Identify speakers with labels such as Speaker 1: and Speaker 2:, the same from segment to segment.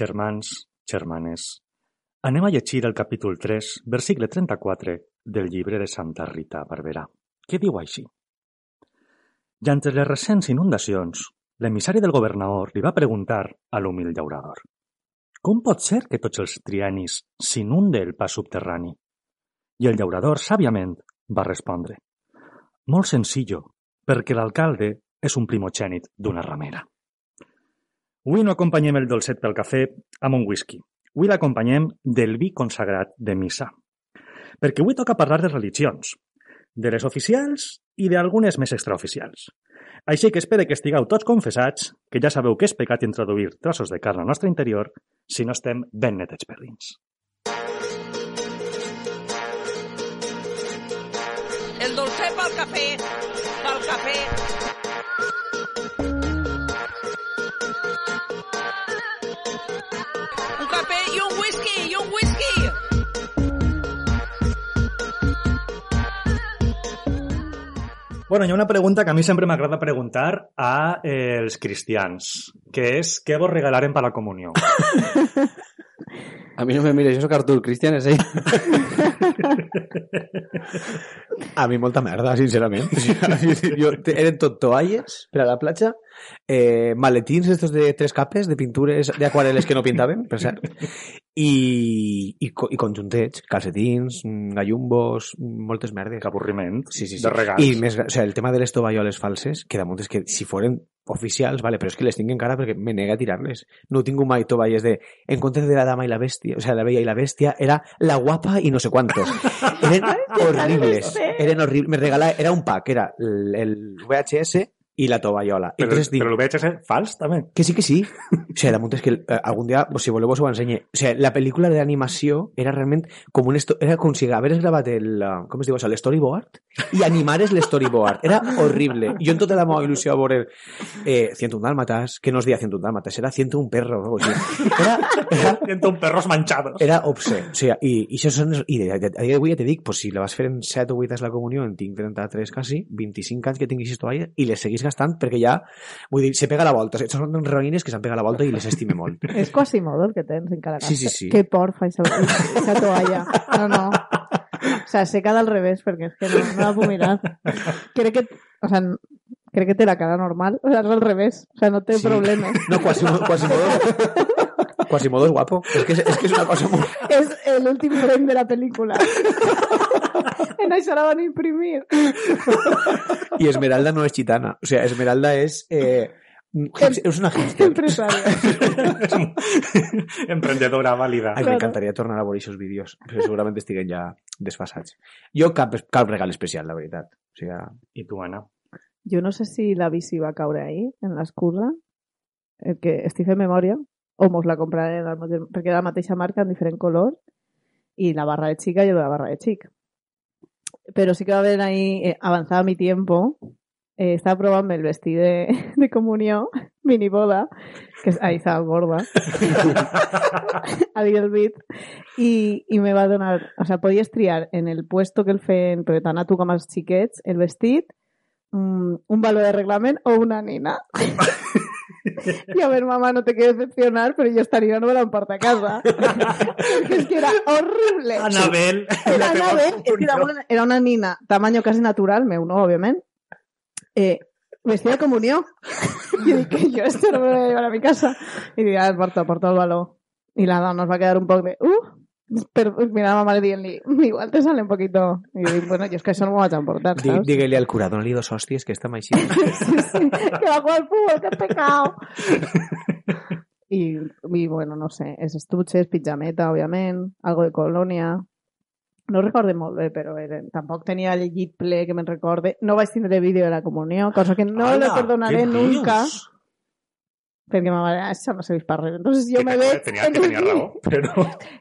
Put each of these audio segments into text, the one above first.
Speaker 1: Germans, germanes, anem a llegir el capítol 3, versicle 34 del llibre de Santa Rita Barberà, que diu així. I entre les recents inundacions, l'emissari del governador li va preguntar a l'humil llaurador «Com pot ser que tots els trianis s'inunde el pas subterrani?» I el llaurador, sàviament, va respondre «Molt senzill, perquè l'alcalde és un primogènit d'una ramera». Avui no acompanyem el dolcet pel cafè amb un whisky. Avui l'acompanyem del vi consagrat de missa. Perquè avui toca parlar de religions, de les oficials i d'algunes més extraoficials. Així que espero que estigueu tots confessats, que ja sabeu que és pecat introduir trossos de carn al nostre interior si no estem ben netets per dins.
Speaker 2: El dolcer pel cafè, pel cafè. Un cafè i un whisky, i un whisky.
Speaker 1: Bueno, hi ha una pregunta que a mi sempre m'agrada preguntar a eh, els cristians, que és què vos regalaren per la comunió?
Speaker 3: A mí no me mires, yo soy Artur, Cristian es ahí.
Speaker 4: A mi molta merda, sincerament. jo, te- eren tot toalles per a la platja, eh, maletins estos de tres capes, de pintures, de aquarel·les que no pintaven, per cert, i, i, co- i conjuntets, calcetins, mm, gallumbos, mm, moltes merdes.
Speaker 1: Que avorriment
Speaker 4: Sí, sí, sí.
Speaker 1: de regals.
Speaker 4: I més, gra- o sea, el tema de les tovalloles falses, que damunt és que si foren oficials, vale, però és que les tinc encara perquè me nega a tirar-les. No tinc mai tovalles de en contra de la dama i la bèstia, o sea, la bella i la bèstia, era la guapa i no sé quantos. Eren horribles. Eren horribles. Me regala, era un pack, era el, el VHS i la tovallola. I
Speaker 1: Però,
Speaker 4: entonces dic,
Speaker 1: però el veig és fals, també.
Speaker 4: que sí, que sí. O sea, damunt és que eh, algun dia, o si voleu, us ho ensenye. O sea, la pel·lícula d'animació era realment com un... esto- Era com si hagués gravat el... eh, Com es diu això? L'storyboard? I animares l'storyboard. Era horrible. Jo en tota la meva il·lusió a veure eh, 101 dálmatas, que no es deia 101 dálmatas, era 101 perros o algo així. Era, era
Speaker 1: Siento un perros manchados.
Speaker 4: era obscè. O sigui, i, i, això són, i a dia d'avui ja te dic, pues, si la vas fer en 7 o 8 anys la comunió, en tinc 33 quasi, 25 anys que tinc aquestes toalles, i les seguís gastant perquè ja, vull dir, se pega la volta. O sigui, són roïnes que s'han pegat la volta i les estime molt.
Speaker 5: És Quasimodo el que tens encara.
Speaker 4: Sí, sí, sí.
Speaker 5: Que por fa això, aquesta toalla. No, no. O sea, seca del revés, perquè és que no, no la puc mirar. Crec que, o sea, crec que té la cara normal, o sea, és al revés. O sea, no té
Speaker 4: Sí.
Speaker 5: sí. problemes.
Speaker 4: No, Quasimodo... Quasimodo, Quasimodo és guapo. És que és, és, que és una cosa molt...
Speaker 5: És l'últim frame de la pel·lícula. en això la van imprimir.
Speaker 4: I Esmeralda no és gitana. O sigui, Esmeralda és... Eh, hipster- és una hipster.
Speaker 5: Empresària.
Speaker 1: Emprendedora válida.
Speaker 4: Ai,
Speaker 5: Claro.
Speaker 4: m'encantaria tornar a veure aquests vídeos, però segurament estiguen ja desfasats. Jo cap, cap regal especial, la veritat. O sigui,
Speaker 1: I tu, Anna?
Speaker 5: Jo no sé si la bici va caure ahir, en l'excusa, el que estic fent memòria, o mos la compraré, en el mateix, perquè era la mateixa marca, en diferent color, i la barra de chica i la barra de chic. Però sí que va haver ahí, eh, avanzada mi tiempo, eh, estava provant el vestit de, de comunió, mini boda, que ahí estava gorda, a dir el bit, i, i me va donar, o sea, podies triar en el puesto que el feien, perquè tant a tu com als xiquets, el vestit, mm, un valor de reglamento o una nina. Y a ver, mamá, no te quiero decepcionar, pero yo estaría no me la emparta a casa. Porque es que era horrible.
Speaker 1: Anabel.
Speaker 5: Era nave, es que era, una, era una nina, tamaño casi natural, me uno, obviamente. Eh, vestida de comunión. Y dije, yo esto no me lo voy a llevar a mi casa. Y dije, ah, porta, porta el valor. Y nada, nos va a quedar un poco de, uh, pero mira, mamá le dije, igual te sale un poquito. Y dije, bueno, yo es que eso no me voy a transportar,
Speaker 4: di-
Speaker 5: ¿sabes?
Speaker 4: digue-li al cura, dona-li dos hòsties que estem així.
Speaker 5: sí, sí, que va a jugar al fútbol, qué pecado. Y, y bueno, no sé, es estuches, pijameta, obviamente, algo de colonia. No recorde molt bé, però era, tampoc tenia llegit ple que me'n recorde. No vaig tindre vídeo de la comunió, cosa que no
Speaker 1: Ala,
Speaker 5: le perdonaré
Speaker 1: què dius?
Speaker 5: nunca. Perquè ma mare, "Ah, això no serveix per res. Entonces jo
Speaker 1: Que
Speaker 5: me
Speaker 1: te-
Speaker 5: veig...
Speaker 1: Tenia, que tenia raó, però...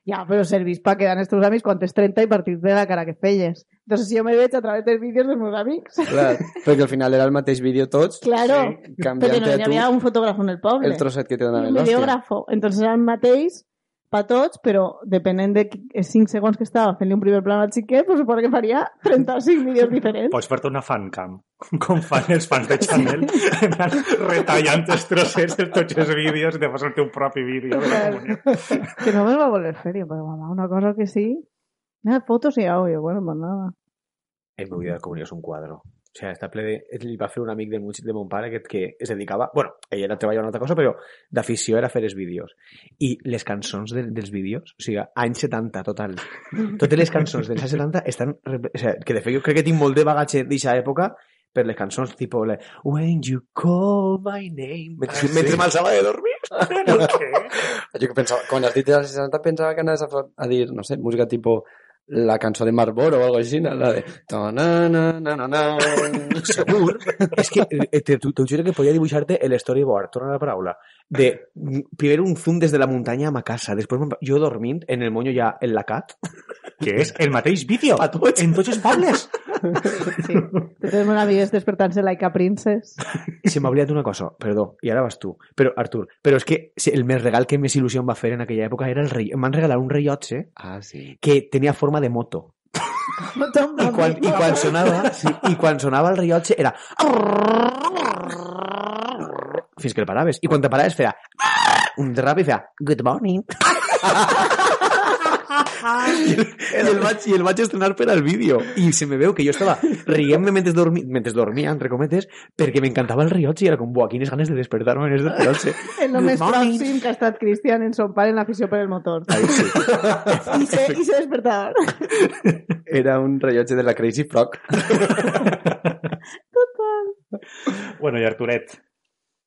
Speaker 5: Ja, però serveix per quedar amb els teus amics quan tens 30 i partir-te la cara que feies. Entonces jo me veig a través dels vídeos dels meus amics.
Speaker 3: Clar, perquè al final era el mateix vídeo tots,
Speaker 5: Claro, sí, perquè
Speaker 3: canviant
Speaker 5: no hi
Speaker 3: tu
Speaker 5: havia un fotògraf en el poble.
Speaker 3: el trosset que te
Speaker 5: I
Speaker 3: donaven
Speaker 5: un
Speaker 3: l'hòstia.
Speaker 5: videógrafo. Entonces era el mateix per tots, però depenent de qui- els 5 segons que estava fent-li un primer plan al xiquet, pues, suposo que faria 35 vídeos diferents.
Speaker 1: Pots fer-te una fancam, com fan els fans de Chanel, anar retallant els trossets de tots els vídeos i de fas el teu propi vídeo. de la comunió.
Speaker 5: que no me va a volver feria, pero mamá, una cosa que sí. Nada, fotos y audio, bueno, pues nada.
Speaker 4: En mi vida de comunió és un quadro. O sigui, està ple de... Li va fer un amic de mon, de mon pare que, que es dedicava... bueno, ell era treballar una altra cosa, però d'afició era fer els vídeos. I les cançons de, dels vídeos, o sigui, anys 70 total. Totes les cançons dels anys 70 estan... re- O sigui, que de fet jo crec que tinc molt de bagatge d'aquesta època per les cançons tipo la, When you call my name mentre,
Speaker 3: Ah,
Speaker 4: mentre
Speaker 3: sí.
Speaker 4: m'alçava de dormir
Speaker 1: Però què?
Speaker 3: Jo que pensava, quan has dit de les 60 pensava que anaves a, fa- a dir, no sé, música tipo la cançó de Marlboro o algo així, no? la de... Ta -na -na -na -na -na.
Speaker 4: segur. és que eh, te, te, te juro que podia dibuixar-te el storyboard, torna a la paraula, de mm, primer un zoom des de la muntanya a ma casa, després me'n va- jo dormint en el moño ja en la cat.
Speaker 1: Que és el mateix vídeo
Speaker 4: A tots.
Speaker 1: en tots els pobles.
Speaker 5: Sí. Te tenemos una vida despertarse like a princess.
Speaker 4: Se m'ha oblidat una cosa, perdó, i ara vas tu, però Artur, però és que si el més regal que més il·lusió em va fer en aquella època era el rei. M'han regalat un rellotge
Speaker 3: Ah, sí.
Speaker 4: que tenia forma de moto. I quan, i quan sonava, sí, i quan sonava el rellotge era... Fins que el paraves. I quan te paraves feia... Un rap i feia... Good morning. I el, i el vaig, I el vaig estrenar per al vídeo. I se me veu que jo estava rient-me mentre, dormi, mentre dormia, entre cometes, perquè m'encantava el rellotge i era com, buah, quines ganes de despertar-me en este rellotge.
Speaker 5: El lo
Speaker 4: Good
Speaker 5: més
Speaker 4: morning.
Speaker 5: pròxim que ha estat Cristian en son pare en l'afició per el motor.
Speaker 4: Ai, sí.
Speaker 5: I se, i se despertador.
Speaker 3: Era un rellotge de la Crazy Frog.
Speaker 1: Bueno, i Arturet,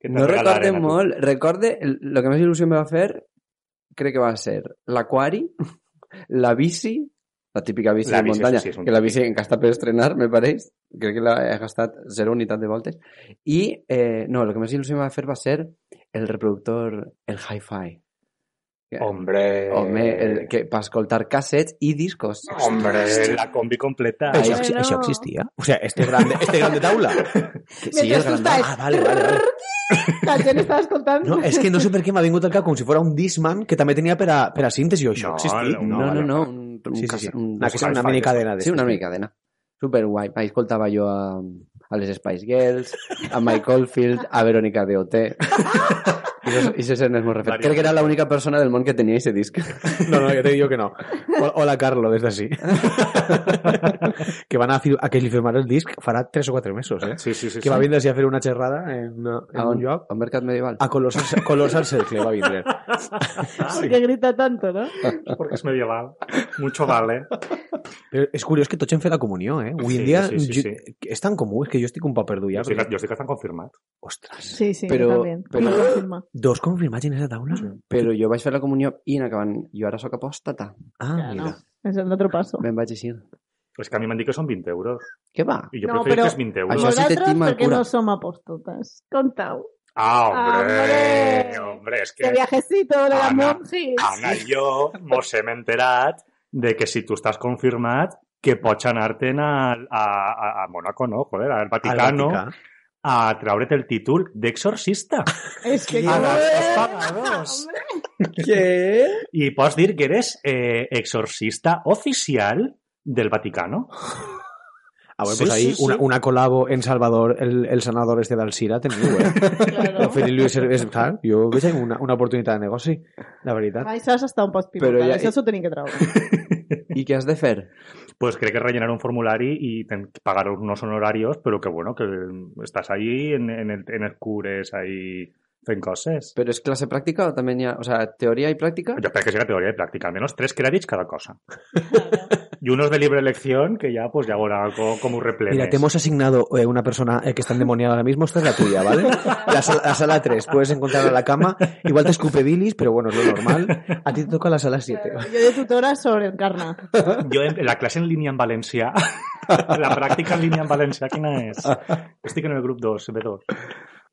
Speaker 1: què te'n
Speaker 3: No recorde
Speaker 1: regalaren a tu?
Speaker 3: molt, recorde, el lo que més il·lusió em va fer, crec que va ser l'aquari, la bici, la típica bici
Speaker 1: La
Speaker 3: de
Speaker 1: bici,
Speaker 3: muntanya,
Speaker 1: sí, és un
Speaker 3: que la bici que està per estrenar, me pareix, crec que la he gastat zero unitat de voltes, i, eh, no, el que més il·lusió em va fer va ser el reproductor, el hi-fi.
Speaker 1: Hombre...
Speaker 3: Home, el,
Speaker 1: Eh.
Speaker 3: que, per escoltar cassets i discos.
Speaker 1: Hombre, la combi completa.
Speaker 4: Això,
Speaker 5: Bueno.
Speaker 4: això existia? O sigui, este gran de, este gran de taula?
Speaker 3: Sí,
Speaker 5: Mentre
Speaker 3: el
Speaker 5: tu
Speaker 3: gran...
Speaker 5: estàs-
Speaker 4: Ah, vale, vale, vale.
Speaker 5: La gent estava escoltant.
Speaker 4: No, eh, és que no sé per què m'ha vingut al cap com si fos un Discman que també tenia per a, per a síntesi o això.
Speaker 1: No,
Speaker 4: existia?
Speaker 1: no,
Speaker 3: No, no,
Speaker 1: vale.
Speaker 3: no, un, un,
Speaker 4: Sí, sí, sí.
Speaker 3: cas- un
Speaker 4: Una, que
Speaker 1: hi-fi,
Speaker 4: sigui una mini
Speaker 1: que-
Speaker 4: cadena.
Speaker 3: Sí, una mica cadena. Superguai. Ahí escoltava jo a, a les Spice Girls, a Mike Oldfield, a Verónica de OT. I això eren els meus referents.
Speaker 1: Varios.
Speaker 3: Crec que era l'única persona del món que tenia aquest disc.
Speaker 4: No, no, jo te digo que no. Hol- Hola, Carlo, des d'ací. que van a, fi- a que li firmarà el disc farà 3 o 4 mesos, eh?
Speaker 1: Sí, sí, sí.
Speaker 4: Que va
Speaker 1: sí.
Speaker 4: vindre així a fer una xerrada en, una, en
Speaker 3: A
Speaker 4: un
Speaker 3: on?
Speaker 4: lloc.
Speaker 3: A un mercat medieval.
Speaker 4: A Colossal, Colossal Circle va vindre.
Speaker 5: Perquè grita tanto, no?
Speaker 1: Porque es medieval. Mucho vale.
Speaker 4: Però és curiós que tots hem fet la comunió, eh? Avui en
Speaker 1: Sí,
Speaker 4: dia
Speaker 1: sí, sí,
Speaker 4: jo-
Speaker 1: sí.
Speaker 4: és tan comú, és que jo estic un pa perdut
Speaker 1: Yo
Speaker 4: ja.
Speaker 1: sé que,
Speaker 4: Perquè...
Speaker 1: yo sé que están confirmados.
Speaker 4: Ostres,
Speaker 5: Sí, sí,
Speaker 3: Però-
Speaker 5: però, també.
Speaker 3: però-
Speaker 5: Però... Confirma.
Speaker 4: dos confirmats en aquesta taula?
Speaker 3: Però jo vaig fer la comunió i en acabant, jo ara sóc apòstata.
Speaker 4: Ah,
Speaker 5: Ja, no.
Speaker 4: mira.
Speaker 5: És l'altre passo.
Speaker 3: Me'n vaig així.
Speaker 1: Es que a mí me han dicho que son 20 euros.
Speaker 3: Què va?
Speaker 1: Y yo
Speaker 5: No,
Speaker 1: prefiero
Speaker 5: pero-
Speaker 1: que es 20 euros.
Speaker 3: Això sí
Speaker 5: Vosaltres,
Speaker 3: que estima el
Speaker 5: perquè
Speaker 3: cura.
Speaker 5: no som apòstotes. Contau.
Speaker 1: Ah, hombre.
Speaker 5: Hombre.
Speaker 1: Hombre, es
Speaker 5: Que
Speaker 1: que
Speaker 5: viajecito de la
Speaker 1: Ana.
Speaker 5: monjis.
Speaker 1: Ana y yo mos hem enterat de que si tú estás confirmado que pots anar-te'n al- a, a, a, Mónaco, no, joder, al
Speaker 4: Al
Speaker 1: Vaticano,
Speaker 4: Vaticà.
Speaker 1: a traure't el títol d'exorcista.
Speaker 5: Es que
Speaker 1: A
Speaker 5: como
Speaker 1: las
Speaker 5: Ah,
Speaker 1: dos
Speaker 5: es-
Speaker 1: pagados.
Speaker 5: Hombre,
Speaker 3: Què?
Speaker 1: I pots dir que eres eh, exorcista oficial del Vaticano.
Speaker 4: Ah, bueno,
Speaker 1: Sí,
Speaker 4: pues ahí
Speaker 1: sí, sí.
Speaker 4: Una, una colabo en Salvador, el, el senador este de Alcira, teniu, eh?
Speaker 5: claro.
Speaker 4: Oferir Luis és, clar, jo veig ahí una, una oportunitat de negoci, la veritat.
Speaker 5: Això has estat un poc pivotat,
Speaker 3: Però ja-
Speaker 5: això s'ho tenim que treure.
Speaker 3: I què has de fer?
Speaker 1: pues creo que rellenar un formulario y ten- pagar unos honorarios, pero que bueno, que estás ahí en, en el, en el cures, ahí en cosas.
Speaker 3: Però és classe pràctica o també n'hi ha... O sea, teoria i pràctica?
Speaker 1: Yo creo que será teoría de práctica, al menos tres créditos cada cosa. Y unos de libre elección que ya, pues ya ahora co- como replenes.
Speaker 4: Mira, te hemos asignado eh, una persona eh, que está endemoniada ahora mismo, esta es la tuya, ¿vale? La, sala- la sala 3, puedes encontrarla en la cama, igual te escupe bilis, pero bueno, es lo normal. A ti te toca la sala 7.
Speaker 5: Yo de tutora sobre el carna.
Speaker 1: Yo en, la clase en línea en Valencia, la práctica en línea en Valencia, ¿quién es? Estoy en el grupo 2, B2.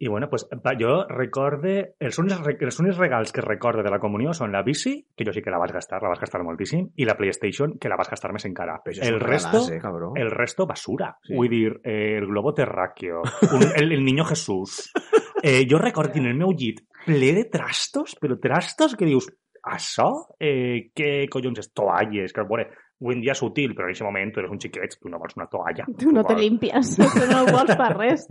Speaker 1: I bueno, pues va, jo recorde... Els únics, re- els únics regals que recorde de la comunió són la bici, que jo sí que la vaig gastar, la vaig gastar moltíssim, i la PlayStation, que la vaig gastar més encara.
Speaker 4: Però això
Speaker 1: el
Speaker 4: són
Speaker 1: resto...
Speaker 4: regalats, eh, cabró.
Speaker 1: El resto, basura.
Speaker 4: Sí.
Speaker 1: Vull dir, eh, el globo terráqueo, un, el, el niño Jesús... Eh, jo recordo en el meu llit ple de trastos, però trastos que dius, això? Eh, què collons és? Toalles, que bueno, avui en dia és útil, però en aquest moment tu eres un xiquet, tu no vols una toalla.
Speaker 5: Tu no te
Speaker 1: vols-
Speaker 5: limpies, tu no ho vols per res.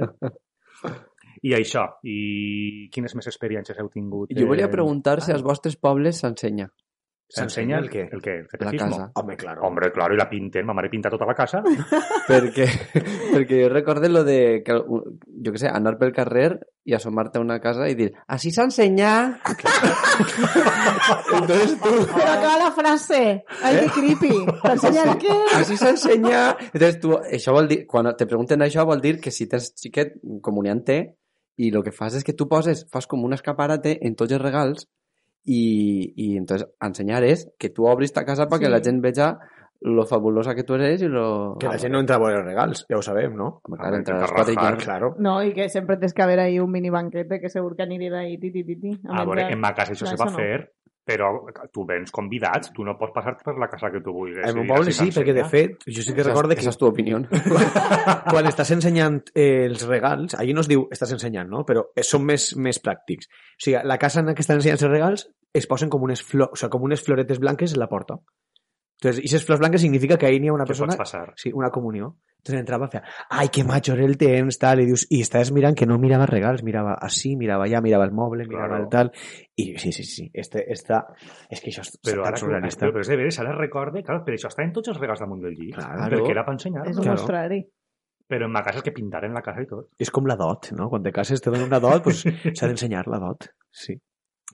Speaker 1: I això, i quines més experiències heu tingut? eh,
Speaker 3: Jo volia
Speaker 1: en-
Speaker 3: preguntar si als vostres pobles s'ensenya.
Speaker 1: S'ensenya el
Speaker 4: què?
Speaker 1: El què? El
Speaker 3: La
Speaker 1: catecismo.
Speaker 3: casa.
Speaker 4: Home, claro.
Speaker 1: Hombre, claro, i la pinten, ma mare pinta tota la casa.
Speaker 3: Perquè, perquè jo recorde lo de, que, jo què sé, anar pel carrer i assomar-te a una casa i dir, així s'ensenya... Entonces tu,
Speaker 5: Però acaba la frase. Ai, que creepy. T'ensenya el què?
Speaker 3: així s'ensenya... Entonces tu, això vol dir, quan te pregunten això vol dir que si tens xiquet, comuniant té, i el que fas és que tu poses, fas com un escaparate en tots els regals i, i entonces ensenyar és que tu obris ta casa perquè
Speaker 5: Sí.
Speaker 3: sí. la gent veja lo fabulosa que tu eres i lo...
Speaker 4: Que la gent no entra a veure els regals, ja ho sabem, no?
Speaker 1: Home,
Speaker 3: Home, clar, entre
Speaker 1: que
Speaker 3: les quatre i
Speaker 1: rajar,
Speaker 3: quatre.
Speaker 4: Claro.
Speaker 5: No, i que sempre tens que haver ahí un mini banquete que segur que anirà ahí ti, ti, ti, ti. a
Speaker 1: A veure,
Speaker 5: menjar.
Speaker 1: en ma casa això
Speaker 5: No,
Speaker 1: se
Speaker 5: això
Speaker 1: va
Speaker 5: no.
Speaker 1: fer, però tu vens convidats, tu no pots passar per la casa que tu vulguis.
Speaker 4: En
Speaker 1: I
Speaker 4: meu poble
Speaker 1: així
Speaker 4: sí, perquè de
Speaker 1: s'ensenya.
Speaker 4: fet, jo sí que
Speaker 3: Esa-
Speaker 4: recorde
Speaker 3: Esa
Speaker 4: que
Speaker 3: és tu opinió.
Speaker 4: quan estàs ensenyant eh, els regals, allí no es diu estàs ensenyant, no? Però eh, són més, més pràctics. O sigui, la casa en la que estan ensenyant els regals es posen com unes, flor, o sigui, com unes floretes blanques en la porta. Entonces, aquestes flors blanques significa que ahir n'hi ha una
Speaker 1: Què
Speaker 4: persona...
Speaker 1: pots passar?
Speaker 4: Sí, una comunió. Entonces entraba, feia, ay, qué macho era el TENS, tal, y dius, y estàs mirant que no mirava regals, mirava así, mirava allà, mirava el moble, mirava
Speaker 1: Claro.
Speaker 4: el tal, y sí, sí, sí, este, esta, és que això és
Speaker 1: Però
Speaker 4: tan
Speaker 1: ara, com,
Speaker 4: surrealista.
Speaker 1: però, però és de veres, ara recorde, clar, per això està en tots els regals damunt del llit,
Speaker 4: Claro.
Speaker 1: perquè era per ensenyar.
Speaker 5: És un
Speaker 4: Claro.
Speaker 5: mostrari.
Speaker 1: Però en ma casa és que pintaren la casa i tot.
Speaker 4: És com la dot, no? Quan te cases te donen una dot, pues, s'ha d'ensenyar la dot. Sí.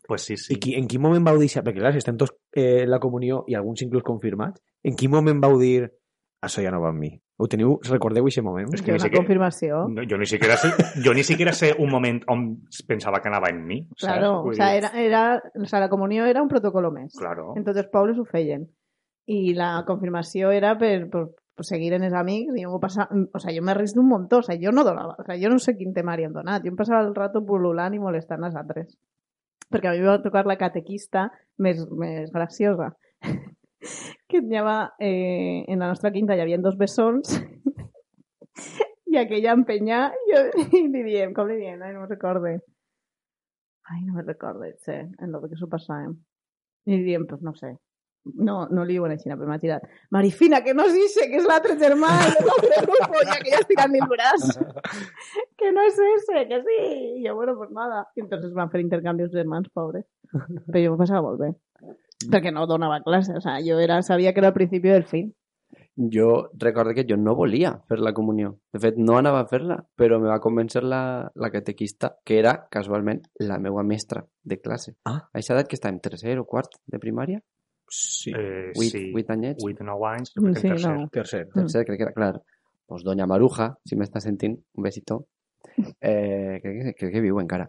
Speaker 1: Pues sí,
Speaker 4: sí.
Speaker 1: sí.
Speaker 4: I qui, en quin moment vau deixar... Perquè clar, si estem tots eh, en la comunió i alguns inclús confirmats, en quin moment vau dir això ja no va amb mi? Ho teniu? Recordeu aquest moment?
Speaker 1: És
Speaker 5: Que
Speaker 1: ni
Speaker 5: una
Speaker 1: siquiera-
Speaker 5: confirmació.
Speaker 1: No, jo, ni siquiera sé, jo ni siquiera sé un moment on pensava que anava en mi. saps?
Speaker 5: Claro,
Speaker 1: Vull
Speaker 5: o sea,
Speaker 1: dir,
Speaker 5: era, era, o sea, la comunió era un protocolo més.
Speaker 1: Claro.
Speaker 5: En tots els pobles ho feien. I la confirmació era per, per, per seguir en els amics i jo m'ho passa... O sea, jo me risc d'un muntó, o sea, jo no donava... O sea, jo no sé quin temari han donat. Jo em passava el rato pululant i molestant els altres. Perquè a mi em va tocar la catequista més, més graciosa. que hi havia, eh, en la nostra quinta hi havia dos bessons i aquella empenya jo, i li diem, com li diem? Ai, no me'n recorde. Ai, no me'n recorde, sé, en lo que s'ho passàvem. I li diem, pues no sé. No, no li diuen així, però m'ha tirat. Marifina, que no és ixe, que és l'altre germà, que és l'altre grup, i aquella estirant-li el braç. que no és ese, que sí. I jo, bueno, pues nada. I entonces van fer intercanvis de mans, pobres. Però jo m'ho passava molt bé. Perquè no donava classe, o sea, jo era, sabia que era el principi del fin.
Speaker 3: jo recorde que jo no volia fer la comunió. De fet, no anava a fer-la, però me va convèncer la, la catequista, que era, casualment, la meva mestra de classe.
Speaker 4: Ah.
Speaker 3: A aquesta edat que estàvem tercer o quart de primària,
Speaker 4: Sí.
Speaker 1: Eh,
Speaker 3: vuit,
Speaker 1: sí.
Speaker 3: vuit anyets,
Speaker 1: 8 o 9 anys,
Speaker 5: Mm,
Speaker 1: vuit en
Speaker 5: sí,
Speaker 1: tercer.
Speaker 5: no.
Speaker 4: Tercer.
Speaker 3: tercer, crec que era, clar, pues doña Maruja, si m'està sentint, un besito, eh, crec, que, crec que viu encara.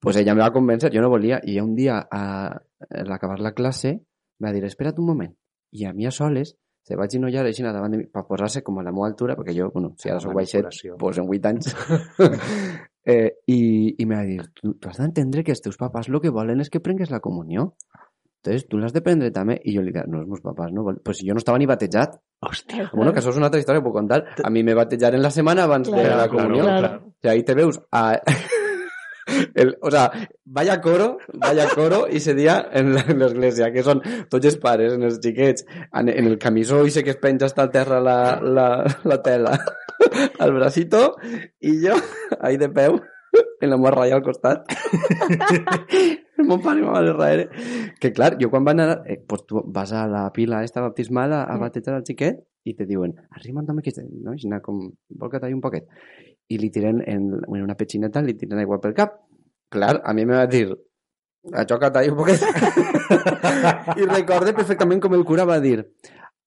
Speaker 3: Pues ella me va convèncer, jo no volia, i un dia, a, a l'acabar la classe, va dir, espera't un moment. I a mi a soles se va aginollar així davant de mi, per posar-se com a la meva altura, perquè jo, bueno, si
Speaker 4: Ah,
Speaker 3: ara soc baixet,
Speaker 1: Manipulació.
Speaker 3: pues en 8 anys. eh, i, I me va dir, tu, tu has d'entendre que els teus papàs el que volen és que prengues la comunió. Entonces, tu l'has de prendre també. I jo li dic, no, els meus papàs no volen. Pues jo no estava ni batejat.
Speaker 4: Hòstia.
Speaker 3: Ah, Bueno, que això és una altra història que puc contar. A mi me batejaran la setmana abans
Speaker 5: Claro,
Speaker 3: de la
Speaker 5: claro,
Speaker 3: comunió.
Speaker 5: claro.
Speaker 3: O sea, ahí te veus a... El, o sea, vaya coro, vaya coro ese día en la- en l'església, que són tots els pares, en els xiquets, en, en el camisó i sé que es penja hasta el terra la, la, la tela, al bracito, i jo, ahí de peu, en la meva ratlla al costat. el meu pare i ma mare darrere. Que clar, jo quan van anar, eh, pues tu vas a la pila esta baptismal a, a batejar el xiquet i te diuen, arriba'n també aquest, no? Aixina com, vol que talli un poquet. I li tiren en, en una petxineta, li tiren aigua pel cap. Clar, a mi me va dir, això que talli un poquet. I recorde perfectament com el cura va dir,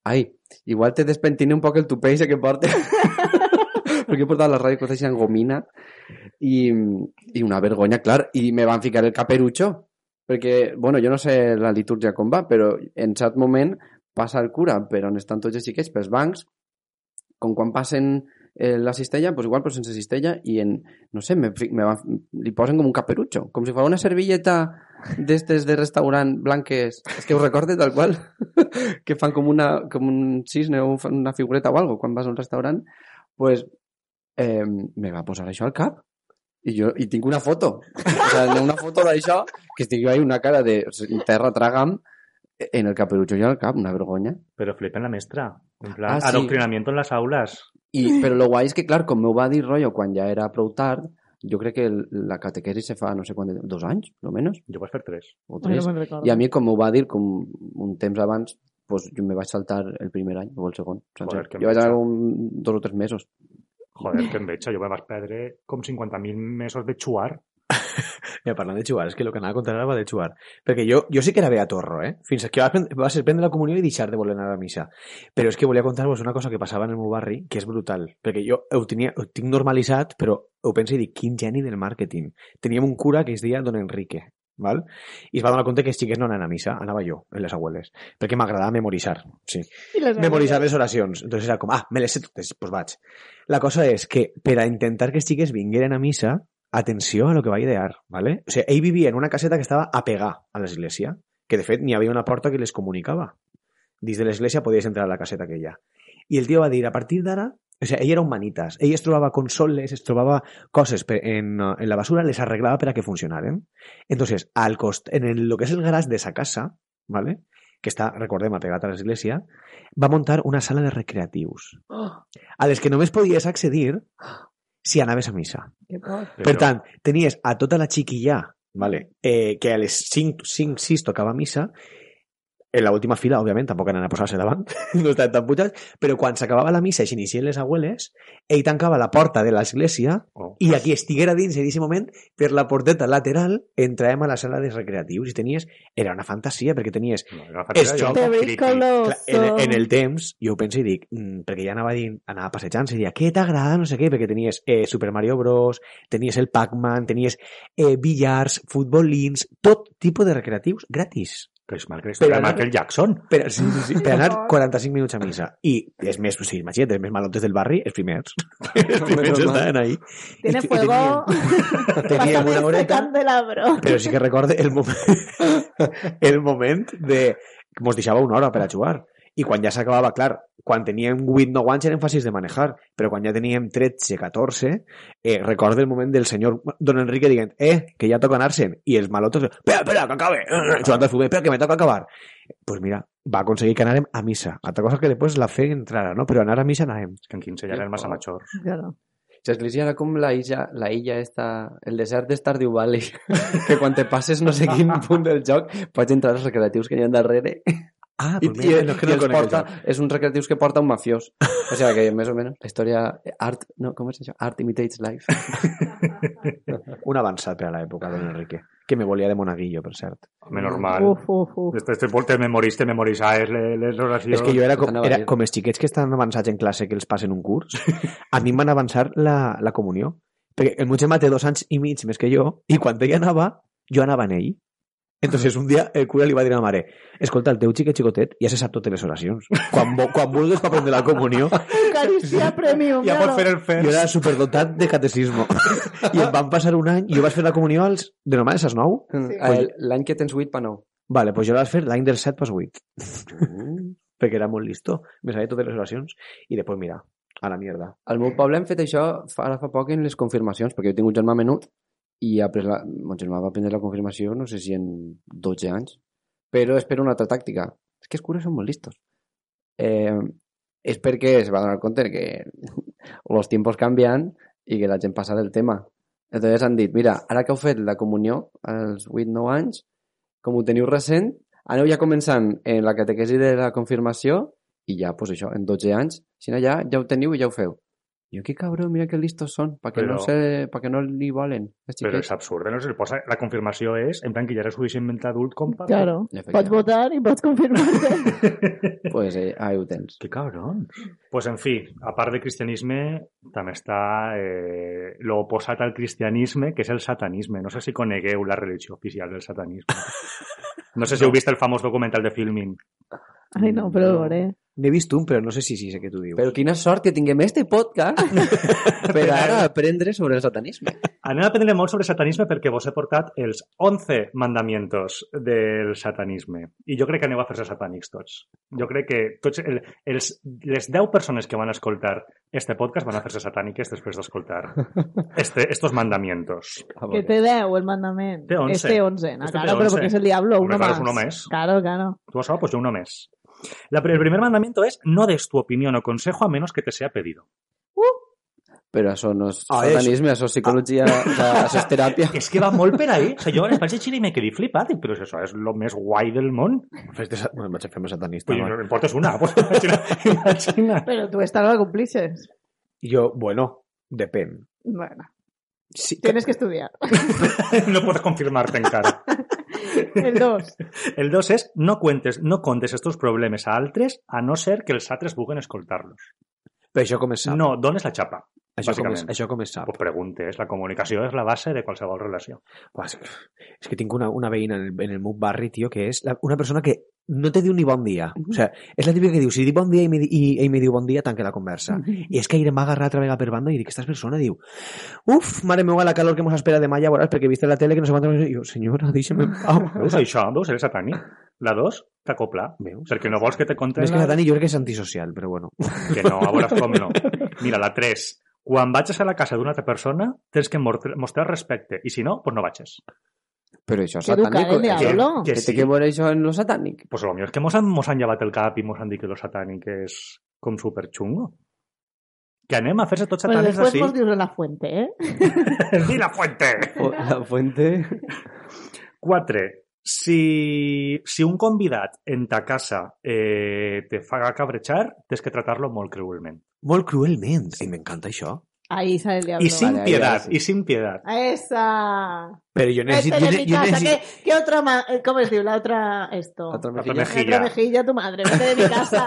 Speaker 3: ai, igual te despentine un poc el tupé ese que portes. Perquè he portat la ràdio costes en gomina i, i una vergonya, clar. I me van ficar el caperutxo, perquè, bueno, jo no sé la litúrgia com va, però en cert moment passa el cura, però on estan tots els xiquets, pels bancs, com quan passen eh, la cistella, pues igual, però sense cistella, i en, no sé, me, fi- me va, li posen com un caperutxo, com si fos una servilleta d'estes de restaurant blanques, és que ho recorde tal qual, que fan com, una, com un cisne o fan una figureta o algo quan vas a un restaurant, pues, eh, me va posar això al cap. I jo i tinc una foto. O sigui, una foto d'això, que estic jo ahí una cara de terra tragam en el caperutxo i al cap, una vergonya.
Speaker 1: Pero flipa en la maestra. En plan,
Speaker 3: Ah, sí.
Speaker 1: adoctrinamiento en las aulas.
Speaker 3: I, però lo guai és que, clar, com m'ho va dir rotllo quan ja era prou tard, jo crec que el- la catequesi se fa, no sé quant, de, dos anys, lo menos,
Speaker 1: Yo voy a hacer tres.
Speaker 3: o
Speaker 5: Ai,
Speaker 3: tres.
Speaker 5: pues no me'n recordo.
Speaker 3: I a mi, com m'ho va dir com un temps abans, pues, jo me vaig saltar el primer any o el segon.
Speaker 1: Joder,
Speaker 3: Sencer.
Speaker 1: que
Speaker 3: jo vaig anar
Speaker 1: enveja.
Speaker 3: un, dos o tres mesos.
Speaker 1: Joder, que enveja. Yo me vas a perder con 50.000 mesos de chuar.
Speaker 4: Mira, parlant de xuar, és que el que anava a contar ara va de xuar. Perquè jo, jo sí que era bé a torro, eh? Fins que va, pren- va ser prendre la comunió i deixar de voler anar a missa. Però és que volia contar-vos una cosa que passava en el meu barri, que és brutal. Perquè jo ho, tenia, ho tinc normalitzat, però ho penso i dic, quin geni del màrqueting. Teníem un cura que es deia Don Enrique, val? i es va donar compte que els xiquets no anaven a missa, anava jo, en les abueles, perquè m'agradava memoritzar, sí
Speaker 5: I les
Speaker 4: memoritzar les oracions. Entonces era com, ah, me les sé totes, pues vaig. La cosa és que per a intentar que els xiques vingueren a missa, atenció a lo que va idear, ¿vale? O sigui, ell vivia en una caseta que estava a pegar a l'església, que de fet n'hi havia una porta que les comunicava. Dins de l'església podies entrar a la caseta aquella. I el tio va dir, a partir d'ara, o sigui, ell era humanitas, ell es trobava consoles, es trobava coses per- en, eh, en la basura, les arreglava per a que funcionaren. Entonces, al cost, en el, lo que és el garage de esa casa, ¿vale? que està, recordem, apegat a l'església, va muntar una sala de recreatius
Speaker 5: Oh,
Speaker 4: a les que només podies accedir si anaves a missa.
Speaker 5: Que por.
Speaker 4: Per tant, tenies a tota la xiquilla vale, eh, que a les 5, 5 6 tocava missa, en la última fila, òbviament, tampoc anaven a posar-se davant, no estaven tan putats, però quan s'acabava la missa i s'inicien les abueles, ell tancava la porta de l'església
Speaker 1: Oh.
Speaker 4: i a qui estiguera dins en aquest moment, per la porteta lateral, entràvem a la sala de recreatius i tenies... Era una fantasia, perquè tenies
Speaker 1: No, era
Speaker 4: Es
Speaker 1: fatal, yo
Speaker 4: que-
Speaker 5: Te
Speaker 1: era
Speaker 5: ves
Speaker 1: friki.
Speaker 5: coloso.
Speaker 4: Clar, en, en el temps, jo ho penso i dic, mm, perquè ja anava, dient, anava passejant, i dia, què t'agrada, no sé què, perquè tenies eh, Super Mario Bros, tenies el Pac-Man, tenies eh, billars, futbolins, tot tipus de recreatius gratis.
Speaker 1: Que es mal que
Speaker 4: Pero
Speaker 1: era
Speaker 4: ahora-
Speaker 1: Michael Jackson.
Speaker 4: Per, sí, sí, sí, per anar 45 minuts a missa. I és més, sí, imagina't, els més malotes del barri, els primers. els primers
Speaker 3: Menos mal.
Speaker 4: estaven ahí.
Speaker 5: Tiene
Speaker 4: I- i
Speaker 5: fuego.
Speaker 4: Teníem, teníem
Speaker 5: Pásame
Speaker 4: una
Speaker 5: este
Speaker 4: horeta
Speaker 5: candelabro.
Speaker 4: però sí que recorde el moment, el moment de... Mos deixava una hora per a jugar. I quan ja s'acabava, clar, quan teníem 8 9 anys eren fàcils de manejar, però quan ja teníem 13, 14, eh, recorde el moment del senyor Don Enrique dient eh, que ja toca anar-se'n, i els malotos espera, espera, que acabe, jugant al futbol, espera, que me toca acabar. pues mira, va aconseguir que anàrem a missa. Altra cosa que després la fe entrara, no? Però anar a missa anàrem.
Speaker 1: Es que en 15 ya era el más amachor.
Speaker 5: Yo no.
Speaker 3: L'església era com la illa, la illa esta, el desert de Stardew Valley, que quan te passes no sé quin punt del joc pots entrar als recreatius que hi ha darrere
Speaker 4: Ah,
Speaker 3: I, i,
Speaker 4: no,
Speaker 3: no,
Speaker 4: és que no
Speaker 3: els
Speaker 4: conec el
Speaker 3: porta,
Speaker 4: joc.
Speaker 3: és un recreatius que porta un mafiós. O sigui que, més o menys, la història... eh, Art, no, com és això? Art imitates life.
Speaker 4: Un avançat per a l'època, Don Enrique, que me volia de monaguillo, per cert.
Speaker 1: Menos mal.
Speaker 5: Uf, uf, uf.
Speaker 1: Este, este te memoriste, memorizáis, le, le, oración.
Speaker 4: És que jo era com,
Speaker 3: Anava a
Speaker 4: era
Speaker 3: dir.
Speaker 4: com els xiquets que estan avançats en classe que els passen un curs, a mi em van avançar la, la comunió. Perquè el meu germà té dos anys i mig més que jo, i quan ell anava, jo anava en ell. Entonces un dia el cura li va dir a la mare escolta, el teu xiquet xicotet ja se sap totes les oracions. Quan, vo- quan vulguis per aprendre la comunió,
Speaker 5: Eucaristía Premium.
Speaker 1: Ya por
Speaker 5: míralo.
Speaker 1: hacer el fer.
Speaker 4: jo era superdotat de catecismo. I em van passar un any, i jo vaig fer la comunió als, de normal, és als 9?
Speaker 3: Sí. L'any que tens 8 pa 9.
Speaker 4: Vale, pues jo la vaig fer l'any del 7 pas 8. perquè era molt listo, me sabia totes les oracions, i després, mira, a la mierda.
Speaker 3: Al meu poble hem fet això fa, ara fa poc en les confirmacions, perquè jo tinc un germà menut i ha pres la, mon germà va prendre la confirmació no sé si en 12 anys, però és per una altra tàctica. És que els cures són molt listos. Eh, és perquè es va donar compte que els tiempos canvien i que la gent passa del tema. Entonces han dit, mira, ara que heu fet la comunió als 8-9 anys, com ho teniu recent, aneu ja començant en la catequesi de la confirmació i ja, pues això, en 12 anys, si no ja, ja ho teniu i ja ho feu. Jo, que cabrón, mira que listos són, eh, perquè
Speaker 1: Però-
Speaker 3: no, sé, pa que no li volen. Els
Speaker 1: Pero
Speaker 3: xiquets.
Speaker 1: es absurdo, ¿no? Se posa, la confirmación es, en plan, que ya eres suficientemente adulto, compa.
Speaker 5: Claro.
Speaker 3: Efectivamente.
Speaker 5: Pots votar y pots confirmarte.
Speaker 3: pues eh, ahí ho tens.
Speaker 1: Qué cabrón. Pues en fin, a part de cristianisme, també està eh, lo oposat al cristianisme, que és el satanisme. No sé si conegueu la religió oficial del satanisme. No sé si heu vist el famós documental de Filmin.
Speaker 5: Ay, no, pero lo veré.
Speaker 4: N'he vist un, però no sé si sí sé què tu dius.
Speaker 3: Però quina sort que tinguem este podcast per ara aprendre sobre el satanisme.
Speaker 1: Anem a aprendre molt sobre satanisme perquè vos he portat els 11 mandamientos del satanisme. I jo crec que aneu a fer-se satànics tots. Jo crec que tots el, els, les 10 persones que van escoltar este podcast van a fer-se satàniques després d'escoltar este, estos mandamientos.
Speaker 5: Que te deu el mandament.
Speaker 1: Té 11.
Speaker 5: Este 11. No,
Speaker 1: Este té
Speaker 5: claro, pero
Speaker 1: 11.
Speaker 5: porque es el diablo,
Speaker 1: Hombre,
Speaker 5: uno
Speaker 1: claro,
Speaker 5: más.
Speaker 1: es uno más.
Speaker 5: Claro, claro.
Speaker 1: ¿Tú has hablado? Pues yo uno más. La, el primer mandamiento es no des tu opinión o consejo a menos que te sea pedido.
Speaker 3: Però això no és
Speaker 4: Ah, és-
Speaker 3: satanisme, això és psicologia, o sea, això és teràpia.
Speaker 1: Es que va molt per ahí. O sea, jo en Espai Xile me quedé flipat, dic, però és això, és lo més guai del món.
Speaker 4: Fes de sa- Bueno, em vaig a fer més satanista.
Speaker 1: Pues
Speaker 4: va.
Speaker 1: no em portes una, pues imagina. imagina.
Speaker 5: Pero tú esta no la cumplixes.
Speaker 4: Jo, bueno, depèn.
Speaker 5: Bueno,
Speaker 4: Sí, que-
Speaker 5: tienes que estudiar.
Speaker 1: No puedes confirmarte encara.
Speaker 5: El 2.
Speaker 1: El dos és no cuentes, no contes estos problemes a altres a no ser que els altres vulguin escoltar-los.
Speaker 4: Però això com es sap?
Speaker 1: No, dones la xapa.
Speaker 4: això, com es,
Speaker 1: bàsicament.
Speaker 4: això com es sap?
Speaker 1: Pues preguntes, la comunicació és la base de qualsevol relació.
Speaker 4: Buah, és, és que tinc una, una veïna en el, en el meu barri, tio, que és la, una persona que no te diu ni bon dia. O sea, és la típica que diu, si dic bon dia i, mi, di- i ell me diu bon dia, tanque la conversa. I és que ahir em va agarrar altra vegada per banda i dic, aquesta persona diu, uf, mare meva, la calor que mos espera demà, ja veuràs, perquè viste la tele que no sé quantes... I jo, senyora, deixa'm en pau.
Speaker 1: Veus això? Veus? Eres satànic. La dos, t'acopla.
Speaker 4: Veus?
Speaker 1: Perquè no vols que te conten...
Speaker 4: Més que
Speaker 1: la-
Speaker 4: Dani, jo crec que és antisocial, però bueno.
Speaker 1: Que no, a veure com no. Mira, la 3. Quan vagis a la casa d'una altra persona, tens que mor- mostrar respecte. I si no, doncs no vagis.
Speaker 3: Però això és
Speaker 5: Que educar
Speaker 3: satànic.
Speaker 5: el
Speaker 3: eh?
Speaker 5: diablo.
Speaker 1: Hablo.
Speaker 3: Que té que veure això en lo satànic.
Speaker 1: Pues lo mío es que mos han, mos han llevat el cap i mos han dit que lo satànic és com superxungo. Que anem a fer-se tots
Speaker 5: Bueno,
Speaker 1: satànics
Speaker 5: Pues después
Speaker 1: així.
Speaker 5: vos dius la fuente, ¿eh?
Speaker 1: Di la fuente!
Speaker 3: O La fuente...
Speaker 1: 4. Si, si un convidat en ta casa eh, te fa cabrechar, tens que tratar-lo molt cruelment.
Speaker 4: Molt cruelment. I m'encanta això.
Speaker 5: Ahí sale el diablo.
Speaker 1: I sin
Speaker 3: Vale, ahí
Speaker 1: piedad,
Speaker 3: ahora sí.
Speaker 1: i sin piedad.
Speaker 5: A esa.
Speaker 4: Però jo necessito...
Speaker 5: Vete de mi
Speaker 4: Jo,
Speaker 5: casa.
Speaker 4: necessito...
Speaker 5: ¿Qué, qué otra? ma- eh, ¿Cómo es diu? La otra. Esto.
Speaker 3: Otra
Speaker 5: La
Speaker 1: Otra
Speaker 3: mejilla.
Speaker 1: mejilla.
Speaker 5: otra mejilla, tu madre. Vete de mi casa.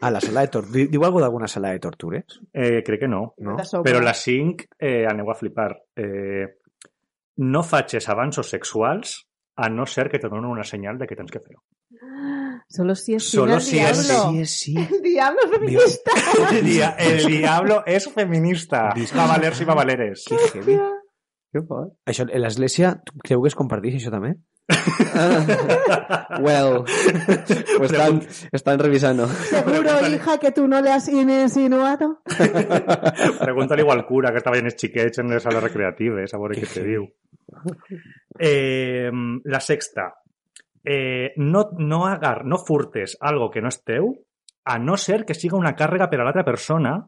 Speaker 4: A la sala de tortures. Diu alguna d'alguna sala de tortures?
Speaker 1: Eh, crec que no.
Speaker 4: No?
Speaker 5: Te sobra.
Speaker 1: Però la 5, eh, aneu a flipar. Eh, no facis avanços sexuals a no ser que te donen una senyal de que tens que fer-ho.
Speaker 5: Solo si es
Speaker 1: Solo
Speaker 5: Solo
Speaker 1: si
Speaker 5: si
Speaker 1: es
Speaker 4: Sí,
Speaker 5: diablo.
Speaker 4: és sí.
Speaker 5: El diablo feminista.
Speaker 1: El, dia, el diablo és feminista. Va valer si va valeres.
Speaker 4: Que heavy.
Speaker 3: Que fort.
Speaker 4: Això, en l'església, tu creu que es comparteix això també?
Speaker 3: Ah. Well, ho estan, estan revisant-ho.
Speaker 5: Seguro, hija, que tú no le has insinuado.
Speaker 1: Pregunta-li igual al cura que estava en els xiquets en les sales recreatives, a veure què te diu. Eh, la sexta. Eh, no, no, agar, no furtes algo que no és teu, a no ser que siga una càrrega per a l'altra persona